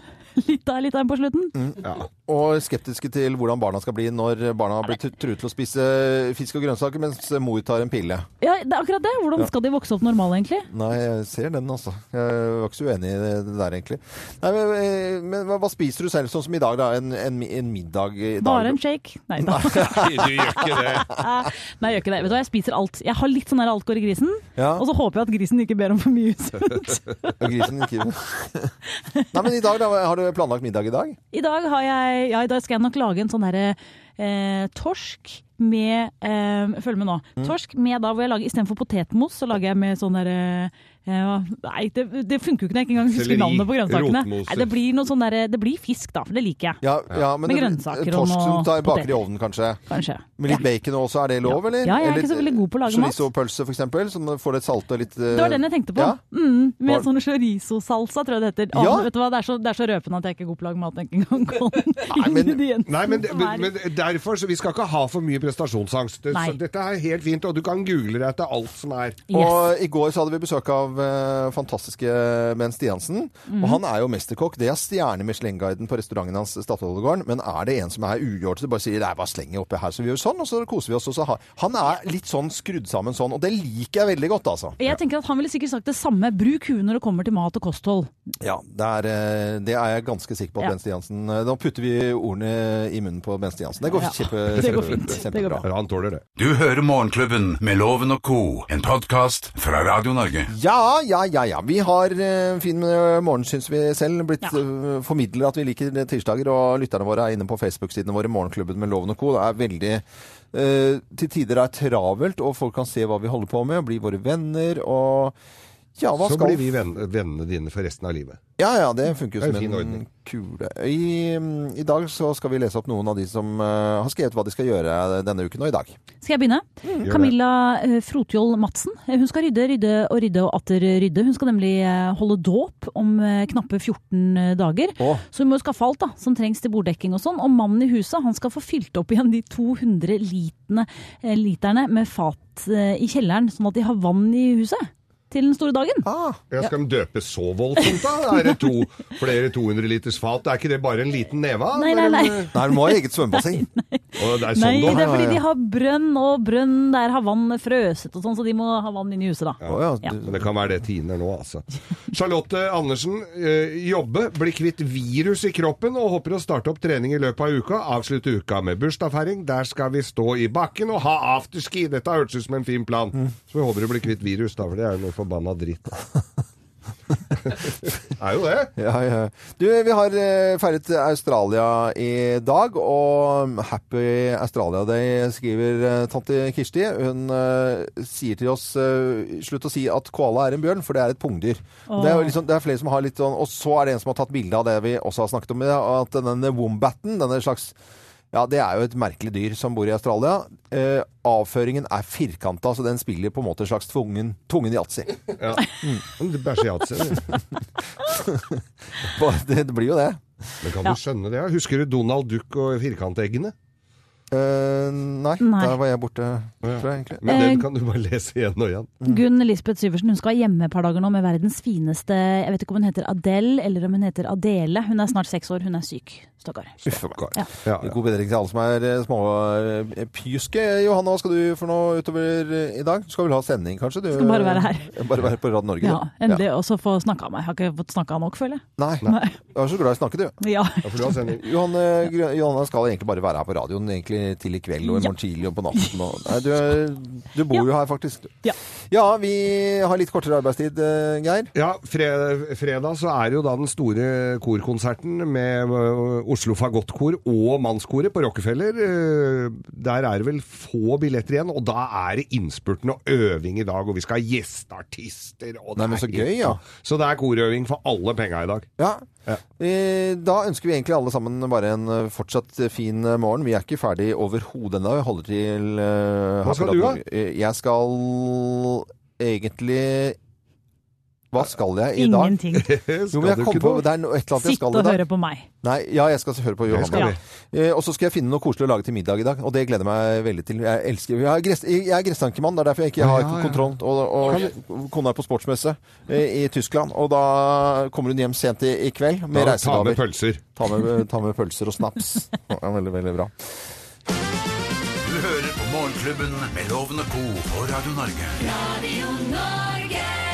[SPEAKER 4] Litt av litt av en på slutten.
[SPEAKER 3] Mm. Og skeptiske til hvordan barna skal bli når barna blir tru- truet til å spise fisk og grønnsaker mens mor tar en pille.
[SPEAKER 4] Ja, det er akkurat det. Hvordan
[SPEAKER 3] Ja.
[SPEAKER 4] skal de vokse opp normale, egentlig?
[SPEAKER 3] Nei, jeg ser den, altså. Jeg var ikke så uenig i det der, egentlig. Nei, men, eh, men hva, hva spiser du selv, sånn som i dag, da? En, en, mi- en middag i dag?
[SPEAKER 4] Bare en shake.
[SPEAKER 3] <laughs>
[SPEAKER 4] Nei da.
[SPEAKER 5] Du gjør ikke det.
[SPEAKER 4] Nei, jeg gjør ikke det. Vet du hva, jeg spiser alt. Jeg har litt sånn der alkohol i grisen,
[SPEAKER 3] Ja.
[SPEAKER 4] og så håper jeg at grisen ikke ber om for mye usunt.
[SPEAKER 3] Og grisen
[SPEAKER 4] <laughs>
[SPEAKER 3] ikke Nei, men i dag, da? Har du planlagt middag i dag?
[SPEAKER 4] I dag har jeg Ja, i dag skal jeg nok lage en sånn derre eh, torsk med eh, Følg med nå.
[SPEAKER 3] Mm.
[SPEAKER 4] Torsk med da hvor jeg lager istedenfor potetmos, så lager jeg med sånn derre eh, Nei, det, det funker jo ikke når jeg ikke engang
[SPEAKER 5] Selleri,
[SPEAKER 4] husker navnet på grønnsakene.
[SPEAKER 5] rotmos.
[SPEAKER 4] Nei, det blir noe sånn derre Det blir fisk, da, for det liker jeg.
[SPEAKER 3] Ja, ja men
[SPEAKER 4] Med grønnsaker og
[SPEAKER 3] torsk som
[SPEAKER 4] noe
[SPEAKER 3] tar baker i
[SPEAKER 4] poteter.
[SPEAKER 3] ovnen, kanskje?
[SPEAKER 4] Kanskje.
[SPEAKER 3] Med litt bacon også, er det lov, eller?
[SPEAKER 4] Ja, jeg er
[SPEAKER 3] Eller
[SPEAKER 4] ikke så veldig god på å lage mat.
[SPEAKER 3] Chorizo-pølse, for eksempel, som får litt salte og litt eh,
[SPEAKER 4] Det var den jeg tenkte på.
[SPEAKER 3] Ja.
[SPEAKER 4] Mm,
[SPEAKER 3] Var-
[SPEAKER 4] med sånn chorizo-salsa, tror jeg det heter. Å,
[SPEAKER 3] Ja.
[SPEAKER 4] vet du hva, det er, så, det er så røpende at jeg ikke er god på å lage mat engang.
[SPEAKER 3] <laughs>
[SPEAKER 4] <laughs> Nei,
[SPEAKER 3] men-
[SPEAKER 5] Nei, men,
[SPEAKER 4] sånn
[SPEAKER 5] men, men derfor, så vi skal ikke ha for mye prestasjonsangst. Det,
[SPEAKER 4] Nei.
[SPEAKER 5] så, dette er helt fint, og du kan google deg til alt som er.
[SPEAKER 3] Og i går så hadde vi besøk av eh, fantastiske Ben Stiansen.
[SPEAKER 4] Mhm.
[SPEAKER 3] Og han er jo mesterkokk. Det er stjerne Michelin-guiden på restauranten hans, Statoilegården. Men er det en som er ugjort, så bare sier det er bare slenger oppi her, så vi gjør sånn, og så koser vi oss. Og så har... Han er litt sånn skrudd sammen sånn, og det liker jeg veldig godt, altså.
[SPEAKER 4] Jeg tenker at Han ville sikkert sagt det samme. Bruk huet når det kommer til mat og kosthold.
[SPEAKER 3] Ja, det er, eh, det er jeg ganske sikker på at
[SPEAKER 4] Ja.
[SPEAKER 3] Ben Stiansen eh, Nå putter vi ordene i munnen på Ben Stiansen. Det går
[SPEAKER 4] Ja.
[SPEAKER 3] kjempe,
[SPEAKER 4] <laughs> Det går
[SPEAKER 3] kjempe-
[SPEAKER 4] fint. Det går
[SPEAKER 3] kjempebra.
[SPEAKER 5] Ja, Han tåler det.
[SPEAKER 2] Du hører Morgenklubben med Loven og co., en podkast fra Radio Norge.
[SPEAKER 3] Ja, ja, ja, ja. Vi har eh, fin eh, morgen, syns vi selv. Blitt ja. formidlet at vi liker det tirsdager, og lytterne våre er inne på Facebook-sidene våre, Morgenklubben med Loven og co. Det er veldig eh, Til tider er travelt, og folk kan se hva vi holder på med, og bli våre venner, og ja, hva
[SPEAKER 5] Så
[SPEAKER 3] skal
[SPEAKER 5] blir vi venn, vennene dine for resten av livet.
[SPEAKER 3] Ja, ja, det funker
[SPEAKER 5] Det er
[SPEAKER 3] jo
[SPEAKER 5] en fin
[SPEAKER 3] som en
[SPEAKER 5] ordning.
[SPEAKER 3] kule. I, mm, I dag så skal vi lese opp noen av de som eh, har skrevet hva de skal gjøre eh, denne uken og i dag.
[SPEAKER 4] Skal jeg begynne?
[SPEAKER 5] Mm. det.
[SPEAKER 4] Camilla eh, Frotjold Madsen. Eh, Hun skal rydde, rydde og rydde og atter rydde. Hun skal nemlig eh, holde dåp om eh, knappe 14 dager.
[SPEAKER 3] Å.
[SPEAKER 4] Så hun må jo skaffe alt da, som trengs til borddekking og sånn. Og mannen i huset han skal få fylt opp igjen de 200 litene, eh, literne med fat eh, i kjelleren, sånn at de har vann i huset til den store dagen.
[SPEAKER 3] Ah,
[SPEAKER 5] Jeg skal de døpe så voldsomt, da? Er det to, flere 200 liters fat? Er ikke det bare en liten neve? av?
[SPEAKER 4] Nei, nei, nei.
[SPEAKER 3] nei, du må ha eget svømmebasseng.
[SPEAKER 5] Å, det er
[SPEAKER 4] <laughs> Nei,
[SPEAKER 5] eh, sånn
[SPEAKER 4] det
[SPEAKER 5] da.
[SPEAKER 4] er fordi de har brønn, og brønn der har vann frøset og sånn, så de må ha vann inn i huset da.
[SPEAKER 3] Å ja,
[SPEAKER 4] Ja.
[SPEAKER 3] du-
[SPEAKER 5] Men Det kan være det tiner nå, altså. Charlotte Andersen, eh, jobbe, bli kvitt virus i kroppen og håper å starte opp trening i løpet av uka. Avslutte uka med bursdagsfeiring. Der skal vi stå i bakken og ha afterski. Dette har hørtes ut som en fin plan. Så vi håper du blir kvitt virus, da, for det er jo noe forbanna dritt. det er jo det.
[SPEAKER 3] Ja, ja. Du, vi har eh, feiret Australia i dag, og Happy Australia Day skriver eh, tante Kirsti. Hun eh, sier til oss eh, slutt å si at koala er en bjørn, for det er et pungdyr. Og Det, er, jo liksom, det er flere som har litt sånn Og så er det en som har tatt bilde av det vi også har snakket om, ja, at denne wombaten, denne slags ja, Det er jo et merkelig dyr som bor i Australia. Eh, avføringen er firkanta, så den spiller på en måte en slags tvungen, tvungen yatzy. <laughs>
[SPEAKER 5] Ja. Men Det bæsjer i atsen.
[SPEAKER 3] Det, det blir jo det.
[SPEAKER 5] Men kan du skjønne det? ja? Husker du Donald Duck og firkanteggene?
[SPEAKER 3] Eh, nei,
[SPEAKER 4] Nei.
[SPEAKER 3] der var jeg borte, tror jeg egentlig.
[SPEAKER 5] Men
[SPEAKER 4] Eh,
[SPEAKER 5] den kan du bare lese igjen og igjen.
[SPEAKER 3] Mm.
[SPEAKER 4] Gunn Lisbeth Syversen hun skal være hjemme et par dager nå med verdens fineste Jeg vet ikke om hun heter Adele eller om hun heter Adele. Hun er snart seks år, hun er syk. Stakkar.
[SPEAKER 5] Ja. Ja, ja.
[SPEAKER 3] God bedring til alle som er eh, små eh, pjuske. Johanna, hva skal du for noe utover eh, i dag? Du skal vel ha sending, kanskje? Du,
[SPEAKER 4] Skal bare være her.
[SPEAKER 3] eh, Bare være på Radio Norge?
[SPEAKER 4] Ja,
[SPEAKER 3] du.
[SPEAKER 4] endelig. Og så få snakka av meg. Jeg har ikke fått snakka nok, føler jeg.
[SPEAKER 3] Nei.
[SPEAKER 4] Nei.
[SPEAKER 3] Du er så glad i å snakke, du.
[SPEAKER 4] Ja.
[SPEAKER 5] for du har sending.
[SPEAKER 3] Johanne, Grø- Johanna skal egentlig bare være her på radioen egentlig i, til i kveld og i morgen tidlig og på natten. Og, nei, du, er- du bor jo her, faktisk. du. ja, vi har litt kortere arbeidstid, eh, Geir.
[SPEAKER 5] Ja, fre- fredag så er jo da den store korkonserten med ø, Oslo Fagottkor og Mannskoret på Rockefeller. Ø, Der er det vel få billetter igjen, og da er det innspurten og øving i dag, og vi skal ha gjesteartister. Og
[SPEAKER 3] Nei, men så gøy, ja.
[SPEAKER 5] Så det er korøving for alle penga i dag. <laughs>
[SPEAKER 3] Ja. Eh, Da ønsker vi egentlig alle sammen bare en eh, fortsatt fin eh, morgen. Vi er ikke ferdig overhodet ennå. Jeg holder til eh,
[SPEAKER 5] Hva skal du, da?
[SPEAKER 3] Jeg skal egentlig Hva skal jeg i dag?
[SPEAKER 4] Ingenting.
[SPEAKER 3] Jo, men jeg kom på, det er no- et eller annet jeg
[SPEAKER 4] Sitte
[SPEAKER 3] skal
[SPEAKER 4] og
[SPEAKER 3] i dag.
[SPEAKER 4] høre på meg.
[SPEAKER 3] Nei, ja, jeg skal høre på
[SPEAKER 4] Det skal
[SPEAKER 3] Johanna. Eh, Og så skal jeg finne noe koselig å lage til middag i dag, og det gleder jeg meg veldig til. Jeg elsker Jeg er, gress, jeg er gresstankemann, det er derfor jeg ikke
[SPEAKER 5] Ja,
[SPEAKER 3] har
[SPEAKER 5] ja.
[SPEAKER 3] kontroll. Og, og kona er på sportsmesse eh, i Tyskland, og da kommer hun hjem sent i, i kveld med
[SPEAKER 5] Da ta med
[SPEAKER 3] reisegaver.
[SPEAKER 5] pølser.
[SPEAKER 3] Ta med, ta med pølser og snaps. Det er veldig, veldig bra.
[SPEAKER 2] Du hører på Morgenklubben med Loven og Co. på Radio Norge.
[SPEAKER 6] Radio Norge.